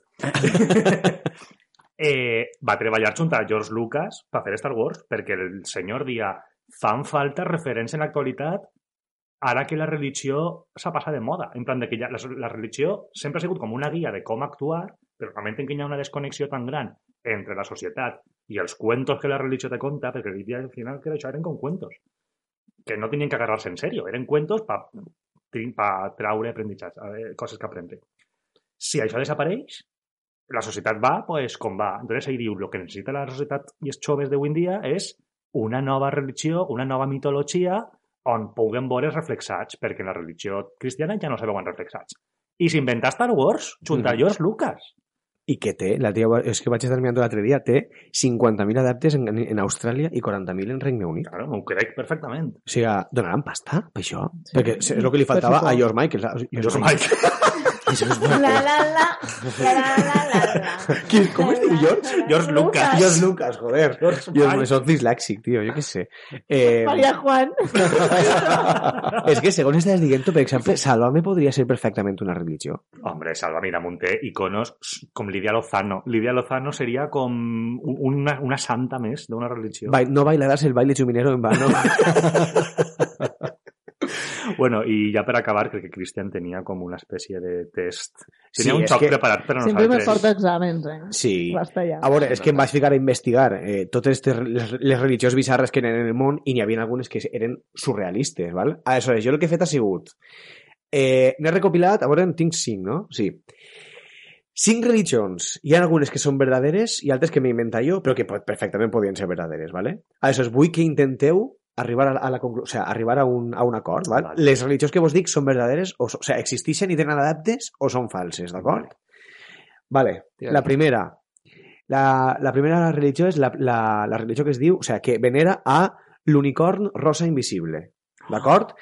Speaker 1: eh, va treballar junt a George Lucas per fer Star Wars, perquè el senyor dia fan falta referència en l'actualitat ara que la religió s'ha passat de moda. En plan, de que ja, la, la religió sempre ha sigut com una guia de com actuar, però realment en que hi ha una desconnexió tan gran entre la societat y los cuentos que la religión te cuenta, porque hoy día al final que lo eran con cuentos, que no tenían que agarrarse en serio, eran cuentos para pa traure aprendizaje, cosas que aprende. Si això desapareix, la societat va pues, com va. Entonces, ahí diu, lo que necesita la societat i els joves d'avui en dia és una nova religió, una nova mitologia on puguem veure's reflexats, perquè en la religió cristiana ja no se veuen reflexats. I s'inventa Star Wars, junta
Speaker 3: Mhm.
Speaker 1: George Lucas.
Speaker 4: I que té, la tia, és que vaig estar mirant l'altre dia, té 50.000 adeptes en, en Austràlia i 40.000 en Regne Unit.
Speaker 1: Claro, m'ho crec perfectament.
Speaker 4: O sigui, donaran pasta per això?
Speaker 5: Sí.
Speaker 4: Sí. Perquè és el que li faltava a
Speaker 5: Per suposo.
Speaker 4: George Michael. saps?
Speaker 1: George Michael.
Speaker 4: George Michael.
Speaker 5: la, la, la, la,
Speaker 4: Qui- Com es diu George?
Speaker 1: George Lucas.
Speaker 4: George Lucas, joder.
Speaker 1: George
Speaker 4: Dios
Speaker 1: Michael.
Speaker 4: mío, soc dislèxic, tio, jo què sé. Eh,
Speaker 5: María Juan.
Speaker 4: és que segons estàs dient tu, per exemple, Salvame podria ser perfectament una religió.
Speaker 1: Hombre, Salva Miramonte, iconos con Lidia Lozano. Lidia Lozano sería con un- una, una santa mes de una religión.
Speaker 4: Ba no bailaràs el baile chuminero en vano.
Speaker 1: Bueno, y ya para acabar, creo que Cristian tenía como una especie de test.
Speaker 4: Sí,
Speaker 1: Tenía un
Speaker 4: es
Speaker 1: shock
Speaker 4: que-
Speaker 1: preparado, pero
Speaker 5: Sempre me
Speaker 1: no
Speaker 5: porta exàmens, eh?
Speaker 4: Sí.
Speaker 5: Basta ja.
Speaker 4: A veure, és que em vaig ficar a investigar eh, totes les, les, les religions bizarres que eren en el món i n'hi havia algunes que eren surrealistes, val? Aleshores, jo el que he fet ha sigut... Eh, N'he recopilat, a veure, en tinc cinc, no? Sí. Cinc religions. Hi ha algunes que són verdaderes i altres que m'he inventat jo, però que pot- perfectament podien ser verdaderes, ¿vale? Aleshores, vull que intenteu arribar a, la- a la conclusió, o sigui, arribar a un, a un acord, ¿vale?
Speaker 1: Vale.
Speaker 4: Les religions que vos dic són verdaderes, o, so- o sigui, existeixen i tenen adaptes o són falses, d'acord? Vale.
Speaker 3: Tira.
Speaker 4: La primera. La, la primera religió és la, la, la religió que es diu, o sigui, que venera a l'unicorn rosa invisible, d'acord?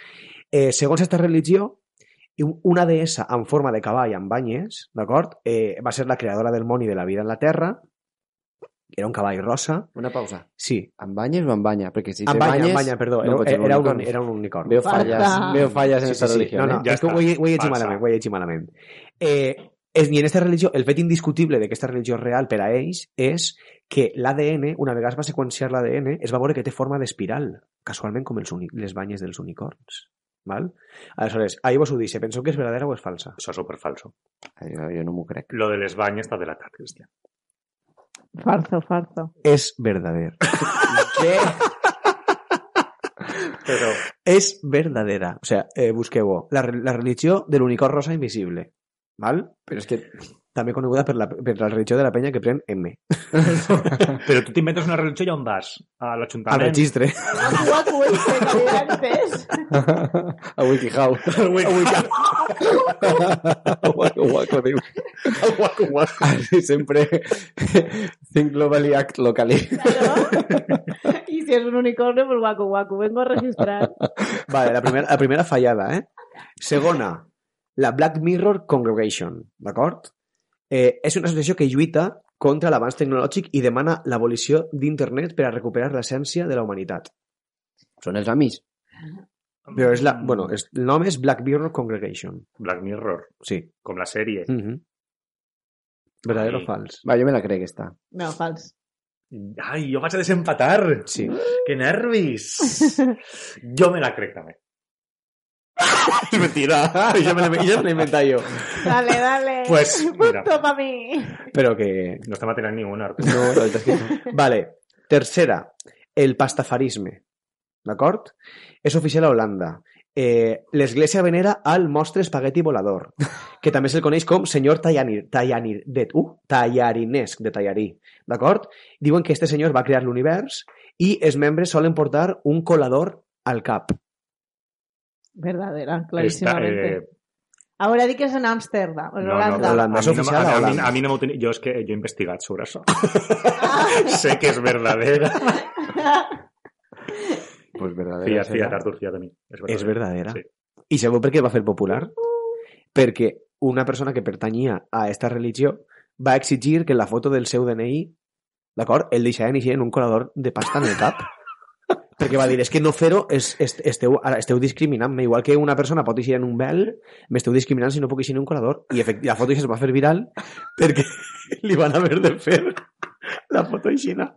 Speaker 4: Eh, segons aquesta religió, i un- una deessa en forma de cavall amb banyes, d'acord? Eh, va ser la creadora del món i de la vida en la Terra. Era un cavall rosa.
Speaker 3: Una pausa.
Speaker 4: Sí.
Speaker 3: Amb banyes o amb banya? Perquè si te
Speaker 4: Amb banya,
Speaker 3: banyes...
Speaker 4: amb banya, perdó.
Speaker 3: no
Speaker 4: No
Speaker 3: pot ser
Speaker 4: era,
Speaker 3: un
Speaker 4: era, un,
Speaker 3: unicorn.
Speaker 4: era un unicorn.
Speaker 3: Veo
Speaker 5: Falta.
Speaker 3: falles, veo falles en
Speaker 4: Ah, Sí,
Speaker 3: esta
Speaker 4: sí, sí.
Speaker 3: religió.
Speaker 4: No, no,
Speaker 3: eh?
Speaker 1: Ja
Speaker 4: és que
Speaker 1: està.
Speaker 4: ho he, ho he llegit
Speaker 1: Falsa.
Speaker 4: malament, ho he llegit malament. Eh, és, I en aquesta religió, el fet indiscutible de que aquesta religió és real per a ells és que l'ADN, una vegada es va seqüenciar l'ADN, es va veure que té forma d'espiral, casualment com els uni les banyes dels unicorns. Val? Aleshores, ahí vos ho dice, penso que és verdadera o és falsa?
Speaker 1: Eso es súper falso.
Speaker 3: Ai, no, jo no m'ho crec.
Speaker 1: Lo del esbaño está delatado, Cristian.
Speaker 5: Farzo, farzo.
Speaker 4: Es verdadero.
Speaker 6: Pero
Speaker 4: es verdadera. O sea, eh, busqueu-ho. La, re- la religió de l'unicorn rosa invisible. Val? Però és que també coneguda per la, per la religió de la penya que pren M.
Speaker 1: Pero tú te inventas una religión y aún vas al
Speaker 4: Al
Speaker 1: ayuntamiento.
Speaker 4: registre.
Speaker 5: Guapo, guapo este que era antes.
Speaker 3: A WikiHow. guaco, guaco, diu. Guaco, guaco. Així sempre think globally, act locally.
Speaker 5: Claro. Y si es un unicornio, pues guaco, guaco. Vengo a registrar.
Speaker 4: Vale, la primera, la primera fallada, eh? Segona, la Black Mirror Congregation, d'acord? Eh, és una associació que lluita contra l'avanç tecnològic i demana l'abolició d'internet per a recuperar l'essència de la humanitat.
Speaker 3: Són els amics.
Speaker 4: Però és la... Bueno, eh. és, el nom és Black Mirror Congregation.
Speaker 1: Mm, Black Mirror,
Speaker 4: Sí.
Speaker 1: con la serie.
Speaker 4: Mm -hmm. Verdadero o
Speaker 1: Ai.
Speaker 4: fals?
Speaker 3: Va, jo me la crec, esta.
Speaker 5: No, fals.
Speaker 1: Ay, yo vas a desempatar.
Speaker 4: Mm. Sí.
Speaker 1: ¡Qué nervis! Yo me la creo también.
Speaker 4: És mentira. ja me l'he- ja me l'he inventat jo.
Speaker 5: Dale, dale.
Speaker 1: Pues, mira.
Speaker 5: Punto para mí.
Speaker 4: Però que...
Speaker 1: No está material ninguna, Arturo.
Speaker 4: No, la veritat és que no. Vale. Tercera, el pastafarisme. D'acord? És oficial a Holanda. Eh, L'església venera al mostre espagueti volador, que també se'l coneix com senyor Tallanir, Tallanir, de, uh, Tallarinesc, de Tallarí. D'acord? Diuen que este senyor va crear l'univers i els membres solen portar un colador al cap.
Speaker 5: Verdadera,
Speaker 1: Está,
Speaker 5: clarísimamente.
Speaker 1: eh,
Speaker 5: Ahora di que es en Ámsterdam, en
Speaker 1: no,
Speaker 5: Holanda.
Speaker 1: no,
Speaker 4: Holanda.
Speaker 1: A mí
Speaker 4: Es
Speaker 1: no me-
Speaker 4: oficial a
Speaker 1: a mí- a mí-
Speaker 4: Holanda.
Speaker 1: a mí no me autori- Yo es que yo he investigado sobre eso.
Speaker 5: Ah.
Speaker 1: sé que es verdadera.
Speaker 3: Pues verdadera.
Speaker 1: Fíjate, fíjate, Artur, fíjate de mí. Es verdadera.
Speaker 4: És verdadera.
Speaker 1: eh, Sí.
Speaker 4: I sabeu per què va fer popular? Perquè una persona que pertanyia a aquesta religió va exigir que la foto del seu DNI, d'acord, el deixaven eixir en un colador de pasta en el cap. Perquè va dir, és que no fer-ho és, és, esteu, ara esteu discriminant-me. Igual que una persona pot eixir en un vel, m'esteu discriminant si no puc eixir en un colador. I efect, la foto es va fer viral perquè li van haver de fer la foto aixina.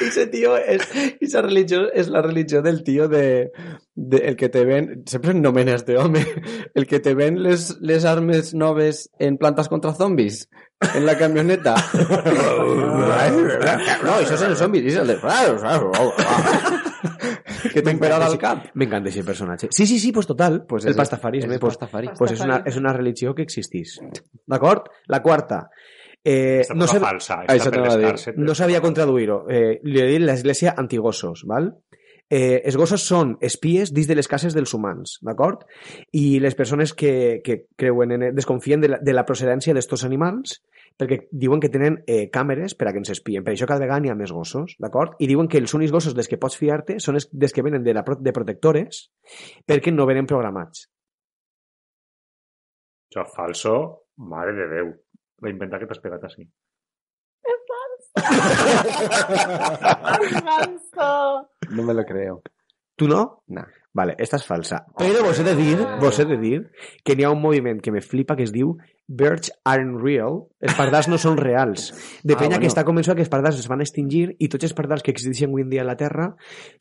Speaker 3: I ese tío és... Esa religió és la religió del tío de... de el que te ven... Sempre nomena este home. El que te ven les, les armes noves en plantes contra zombis. En la camioneta. no, això és el zombi. És el de... que t'he emperat al cap.
Speaker 4: M'encanta aquest personatge. Sí, sí, sí, pues total. Pues
Speaker 3: Pues
Speaker 4: el
Speaker 3: és-
Speaker 4: pastafarisme,
Speaker 3: és
Speaker 4: pues,
Speaker 3: pastafari.
Speaker 4: pues és, una, és una religió que existís. D'acord? La quarta. Eh,
Speaker 1: Esta
Speaker 4: no,
Speaker 1: cosa
Speaker 4: sab
Speaker 1: falsa.
Speaker 3: Ah, eso
Speaker 1: Esta
Speaker 3: te lo digo.
Speaker 1: perlestarse.
Speaker 4: no sabia contraduir-ho. Eh, li he dit l'església antigossos, val? Eh, els gossos són espies dins de les cases dels humans, d'acord? I les persones que, que creuen en, desconfien de la, de la procedència d'estos animals perquè diuen que tenen eh, càmeres per a que ens espien. Per això cada vegada n'hi ha més gossos, d'acord? I diuen que els únics gossos dels que pots fiar-te són els dels que venen de, la, pro- de protectores perquè no venen programats.
Speaker 1: Això és falso, mare de Déu. Va inventar que t'has pegat així.
Speaker 5: Ganso.
Speaker 3: No me lo creo.
Speaker 4: Tu no?
Speaker 3: No. Oh.
Speaker 4: Vale, esta és falsa. Però
Speaker 3: pues,
Speaker 4: vos he de dir, vos he de dir que n'hi ha un moviment que me flipa que es diu Birds aren't real, els pardals no són reals. De
Speaker 3: Ah,
Speaker 4: penya
Speaker 3: bueno.
Speaker 4: que està convençuda que els pardals es van extingir i tots els pardals que existeixen avui en dia a la Terra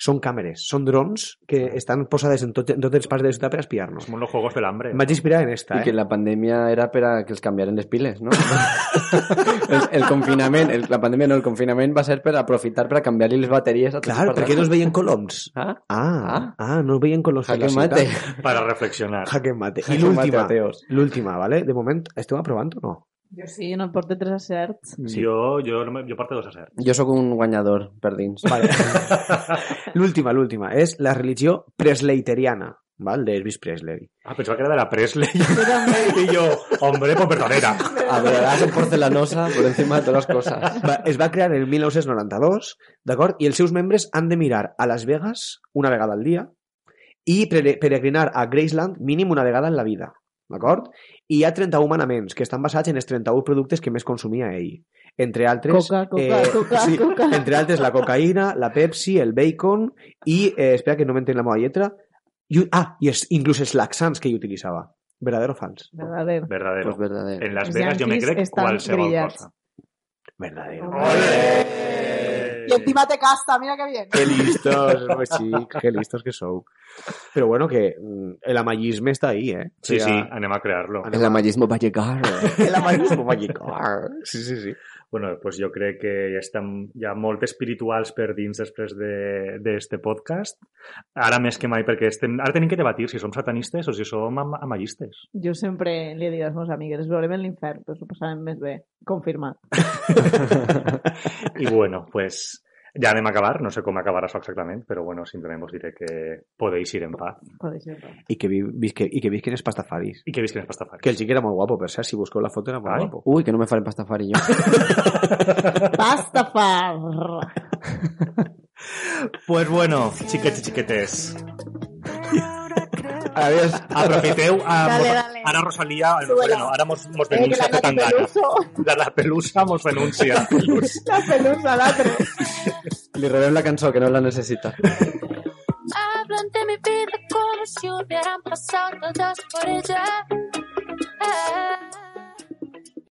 Speaker 4: són càmeres, són drons
Speaker 3: Ah.
Speaker 4: que estan posades en, tot, en totes les parts de la ciutat per espiar-nos.
Speaker 1: És com los Juegos del Hambre.
Speaker 4: Em vaig inspirar en esta,
Speaker 3: Y que
Speaker 4: eh?
Speaker 3: la pandemia era para que les cambiaran les piles, ¿no? el, el confinament, el, la pandemia no, el confinament va ser per aprofitar per a canviar-li les bateries a tots
Speaker 4: Clar,
Speaker 3: els
Speaker 4: perquè
Speaker 3: parlants.
Speaker 4: no es veien coloms.
Speaker 3: Ah,
Speaker 4: Ah, ah, no es veien coloms a
Speaker 3: jaque
Speaker 4: la ciutat.
Speaker 3: mate.
Speaker 1: Para reflexionar.
Speaker 4: Jaque mate. I
Speaker 3: Jaque mate,
Speaker 4: l'última,
Speaker 3: ateos.
Speaker 4: l'última, vale? De moment, esteu aprovant o no?
Speaker 5: Yo sí, no porté tres acerts.
Speaker 4: Sí.
Speaker 1: Yo, yo, no me- yo parte dos a ser.
Speaker 3: Jo sóc un guanyador per dins.
Speaker 4: Vale. l'última, l'última. És la religió presleiteriana, val? d'Elvis Presley.
Speaker 1: Ah, pensaba que era de la Presley. y yo, hombre, pues perdonera.
Speaker 3: Adorarás en porcelanosa por encima de todas las cosas.
Speaker 4: Va, es va crear el 1992, d'acord? I els seus membres han de mirar a Las Vegas una vegada al dia i pere- peregrinar a Graceland mínim una vegada en la vida, d'acord? I hi ha 31 manaments que estan basats en els 31 productes que més consumia ell. Entre altres... eh,
Speaker 5: Coca, coca, coca,
Speaker 4: sí,
Speaker 5: coca.
Speaker 4: Entre altres la cocaïna, la Pepsi, el bacon i, eh, espera que no m'entén la meva lletra, i, un- ah, i es, inclús els laxants que ell utilitzava. Verdadero o fals?
Speaker 5: Verdadero.
Speaker 1: Verdadero.
Speaker 3: Pues verdadero.
Speaker 1: en Las
Speaker 5: Los
Speaker 1: Vegas yo me
Speaker 5: yanquis
Speaker 1: creo
Speaker 5: están
Speaker 1: cual se va
Speaker 5: brillados.
Speaker 1: cosa.
Speaker 4: Verdadero.
Speaker 5: Hombre. Y encima te casta, mira qué bien.
Speaker 4: Qué listos, pues sí, qué listos que sou. Pero bueno, que mm, el amallisme está ahí, ¿eh? O
Speaker 1: Sí,
Speaker 4: sea,
Speaker 1: sí, anem a crearlo.
Speaker 4: anem
Speaker 3: El amallismo va a llegar.
Speaker 4: El amallisme va a llegar. Sí, sí, sí.
Speaker 1: Bueno, doncs pues jo crec que ja estem ja molt espirituals per dins després de- d'este de, podcast. Ara més que mai, perquè estem, ara tenim que debatir si som satanistes o si som am amallistes.
Speaker 5: Jo sempre li he dit als meus amigues, veurem en l'infern, però s'ho passarem més bé. Confirmat.
Speaker 1: I bueno, pues ja anem a acabar. No sé com acabarà això exactament, però bueno, simplement us diré que podeu ir en paz
Speaker 5: Joder, sempre.
Speaker 4: I que, vi, vi, que, i que visquin els pastafaris.
Speaker 1: i que visquin els pastafaris.
Speaker 4: Que el chico era molt guapo, per cert, si busqueu la foto era molt
Speaker 1: Ai.
Speaker 4: guapo.
Speaker 3: Uy, que no me falen pastafari yo.
Speaker 5: Basta, far!
Speaker 1: Pues bueno, xiquets i xiquetes,
Speaker 3: Adiós.
Speaker 1: aprofiteu... A...
Speaker 5: Dale, dale.
Speaker 1: Ara Rosalía, bueno, ara mos, mos
Speaker 5: Eh, que
Speaker 1: denuncia
Speaker 5: la
Speaker 1: eh,
Speaker 5: Nati
Speaker 1: Tangana.
Speaker 5: Peluso,
Speaker 1: De la pelusa mos denuncia.
Speaker 5: la pelusa, l'altre.
Speaker 3: Le robé la canción que no la necesita.
Speaker 7: Hablan de mi vida como si hubieran pasado dos por ella. Ah.